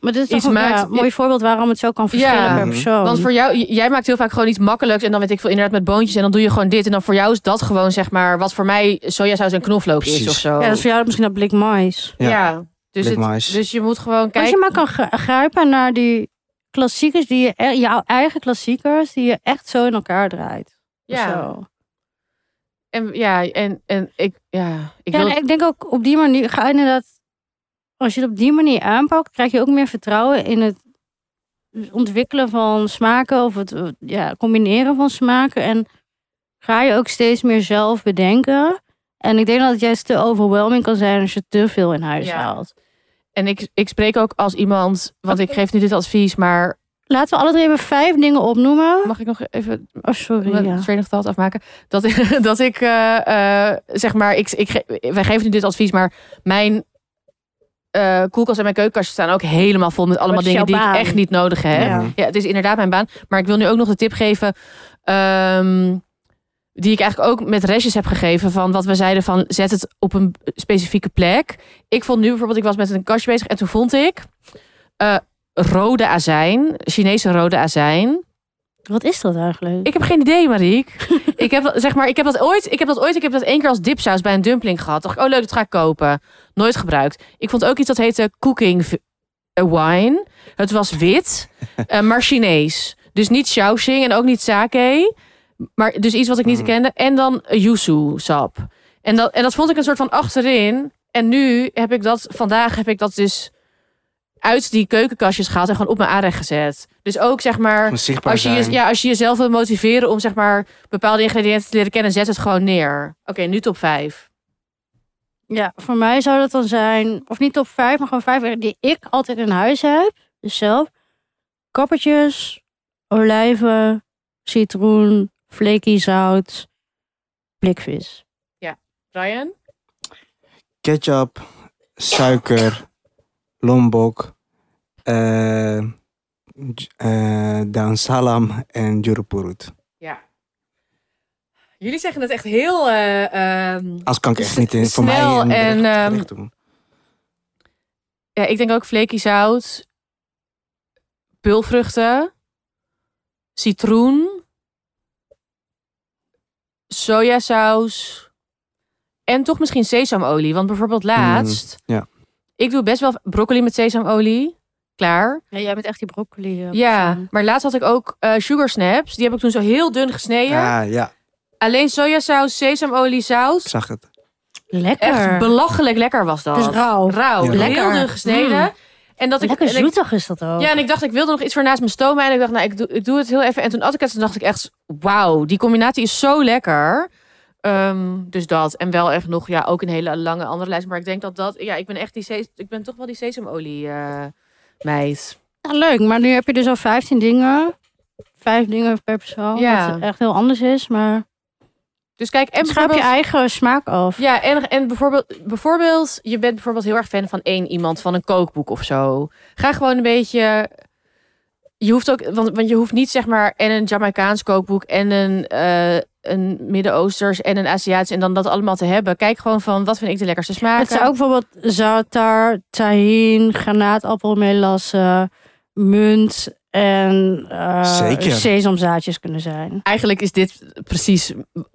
Maar dit is Iets toch een maakt- ja, mooi voorbeeld waarom het zo kan verschillen Ja. Mhm. per persoon. Oh. Want voor jou, j- jij maakt heel vaak gewoon iets makkelijks. En dan weet ik veel, inderdaad met boontjes. En dan doe je gewoon dit. En dan voor jou is dat gewoon, zeg maar, wat voor mij sojasaus en knoflook is Precies. of zo. Ja, dat is voor jou misschien dat blik mais. Ja. Ja. Dus, Blik het, mais. dus je moet gewoon Als je kijken. maar kan gr- grijpen naar die klassiekers, die je, e- jouw eigen klassiekers, die je echt zo in elkaar draait. Ja. Zo. En, ja, en, en ik, ja, ik ja, wil... en ik denk ook op die manier ga je inderdaad. Als je het op die manier aanpakt, krijg je ook meer vertrouwen in het ontwikkelen van smaken of het eh, ja, combineren van smaken. En ga je ook steeds meer zelf bedenken. En ik denk dat het juist te overwhelming kan zijn als je te veel in huis Ja. haalt. En ik, ik spreek ook als iemand, want ik geef nu dit advies, maar Laten we alle drie even vijf dingen opnoemen. mag ik nog even Oh, sorry. mijn Ja. train of thought afmaken? Dat, ik- dat ik, eh, eh, zeg maar, ik, ik ge- wij geven nu dit advies, maar mijn eh, koelkast en mijn keukenkastje staan ook helemaal vol met allemaal Wat is dingen die jouw ik baan? echt niet nodig heb. Ja. Ja, het is inderdaad mijn baan. Maar ik wil nu ook nog de tip geven. ehm, die ik eigenlijk ook met restjes heb gegeven van wat we zeiden van zet het op een specifieke plek. Ik vond nu bijvoorbeeld, ik was met een kastje bezig en toen vond ik eh, rode azijn, Chinese rode azijn. Wat is dat eigenlijk? Ik heb geen idee, Mariek. ik, heb, dat- zeg maar, ik heb dat ooit, ik heb dat ooit, ik heb dat één keer als dipsaus bij een dumpling gehad. Dacht ik, oh leuk, dat ga ik kopen. Nooit gebruikt. Ik vond ook iets dat heette cooking v- eh, wine. Het was wit, eh, maar Chinees. Dus niet Shaoxing en ook niet sake. Maar dus iets wat ik niet Mm. kende. En dan eh, yuzu sap. En dat, en dat vond ik een soort van achterin. En nu heb ik dat, vandaag heb ik dat dus uit die keukenkastjes gehaald en gewoon op mijn aanrecht gezet. Dus ook zeg maar Gewoon zichtbaar als je, je- zijn. ja, als je jezelf wil motiveren om zeg maar bepaalde ingrediënten te leren kennen, zet het gewoon neer. Oké, nu top 5. Ja, voor mij zou dat dan zijn, of niet top 5, maar gewoon vijf die ik altijd in huis heb. Dus zelf. Kappertjes, olijven, citroen, flaky zout, blikvis. Ryan? Ketchup, suiker, lombok, eh j- eh, Daun salam en jurupurut. Jullie zeggen het echt heel. eh, ehm, Als kan ik echt niet in, voor Snel mij in en, een ehm, gerecht- gerecht doen. ja, ik denk ook flaky zout, pulvruchten, citroen, sojasaus en toch misschien sesamolie. Want bijvoorbeeld laatst, Mm, ja. ik doe best wel broccoli met sesamolie. Klaar. Ja, jij bent echt die broccoli. eh, Ja, persoon. maar laatst had ik ook eh, sugar snaps. Die heb ik toen zo heel dun gesneden. Ja, Ah, ja, Alleen sojasaus, sesamolie, ik saus. zag het. Echt Lekker. belachelijk lekker was dat. dus rauw. Rauw, Ja. heel Lekker. dun gesneden. Mm. En dat ik, Lekker en ik- zoetig is dat ook. ja, en ik dacht, ik wilde nog iets voor naast mijn stoma. En ik dacht, nou, ik doe, ik doe het heel even. En toen at ik het, toen dacht ik echt, wauw, die combinatie is zo lekker. Ehm, dus dat. En wel echt nog, ja, ook een hele lange andere lijst. Maar ik denk dat dat, ja, ik ben echt die, ses- ik ben toch wel die sesamolie eh, meid. Nou, leuk, maar nu heb je dus al 15 dingen. Vijf dingen per persoon. Ja. Wat echt heel anders is, maar Dus kijk, en schuip je bijvoorbeeld- eigen smaak af. Ja, en, en bijvoorbeeld, bijvoorbeeld, je bent bijvoorbeeld heel erg fan van één iemand, van een kookboek of zo. Ga gewoon een beetje. Je hoeft ook, want, want je hoeft niet zeg maar en een Jamaicaans kookboek en een, eh, een Midden-Oosters en een Aziatisch en dan dat allemaal te hebben. Kijk gewoon van wat vind ik de lekkerste smaken. Het zou ook bijvoorbeeld zaatar, tahin, granaatappelmelassen, munt en eh, Zeker. sesamzaadjes kunnen zijn. Eigenlijk is dit precies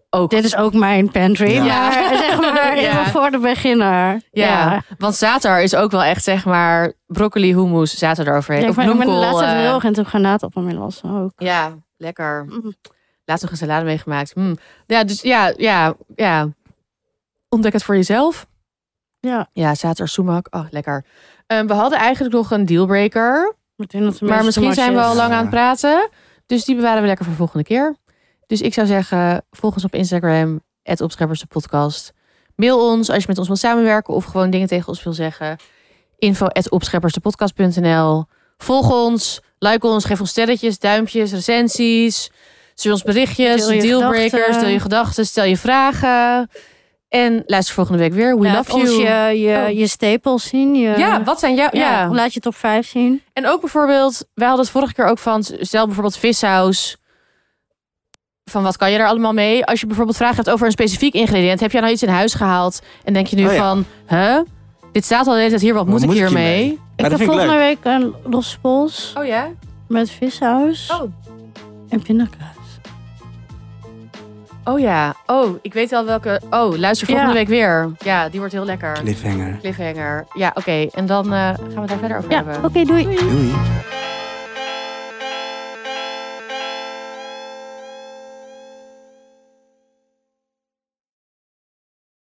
ook. Dit is ook mijn pantry, Ja. maar zeg maar Ja. even voor de beginner. ja, want zater is ook wel echt zeg maar broccoli, hummus, zater eroverheen. Ja, of ik ben, ik ben de bloemkool, laatste eh, heel erg into granaatappelmelassen ook. Ja, lekker. Mm. Laatst nog een salade meegemaakt. Mm. Ja, dus ja, ja, ja. Ontdek het voor jezelf. Ja, Ja, zater sumac. Oh, lekker. Ehm, we hadden eigenlijk nog een dealbreaker. ik denk dat de Maar meeste misschien matjes- zijn we al lang Ja. aan het praten. Dus die bewaren we lekker voor volgende keer. Dus ik zou zeggen, volg ons op Instagram, het Opscheppers de podcast. Mail ons als je met ons wilt samenwerken of gewoon dingen tegen ons wil zeggen. Info opscheppersdepodcast.nl Volg ons, like ons, geef ons sterretjes, duimpjes, recensies. Stuur ons berichtjes, Deel je dealbreakers, gedachten. stel je gedachten, stel je vragen. En luister volgende week weer. We Laat love ons you. je, je, Oh. je stapels zien. Je, Ja, wat zijn jouw... ja, ja. Laat je top 5 zien. En ook bijvoorbeeld, wij hadden het vorige keer ook van, stel bijvoorbeeld vissaus. Van wat kan je daar allemaal mee? Als je bijvoorbeeld vragen hebt over een specifiek ingrediënt, heb jij nou iets in huis gehaald? En denk je nu Oh ja. van, huh? Dit staat al de hele tijd hier, wat moet, ik hiermee? Ik dat heb vind ik volgende week een losse pols Oh ja? met vissaus Oh. en pindakaas. Oh ja. Oh, ik weet al welke. Oh, luister volgende Ja. week weer. Ja, die wordt heel lekker. Cliffhanger. Cliffhanger. Ja, oké. En dan eh, gaan we het daar verder over Ja, hebben. oké, doei. Doei.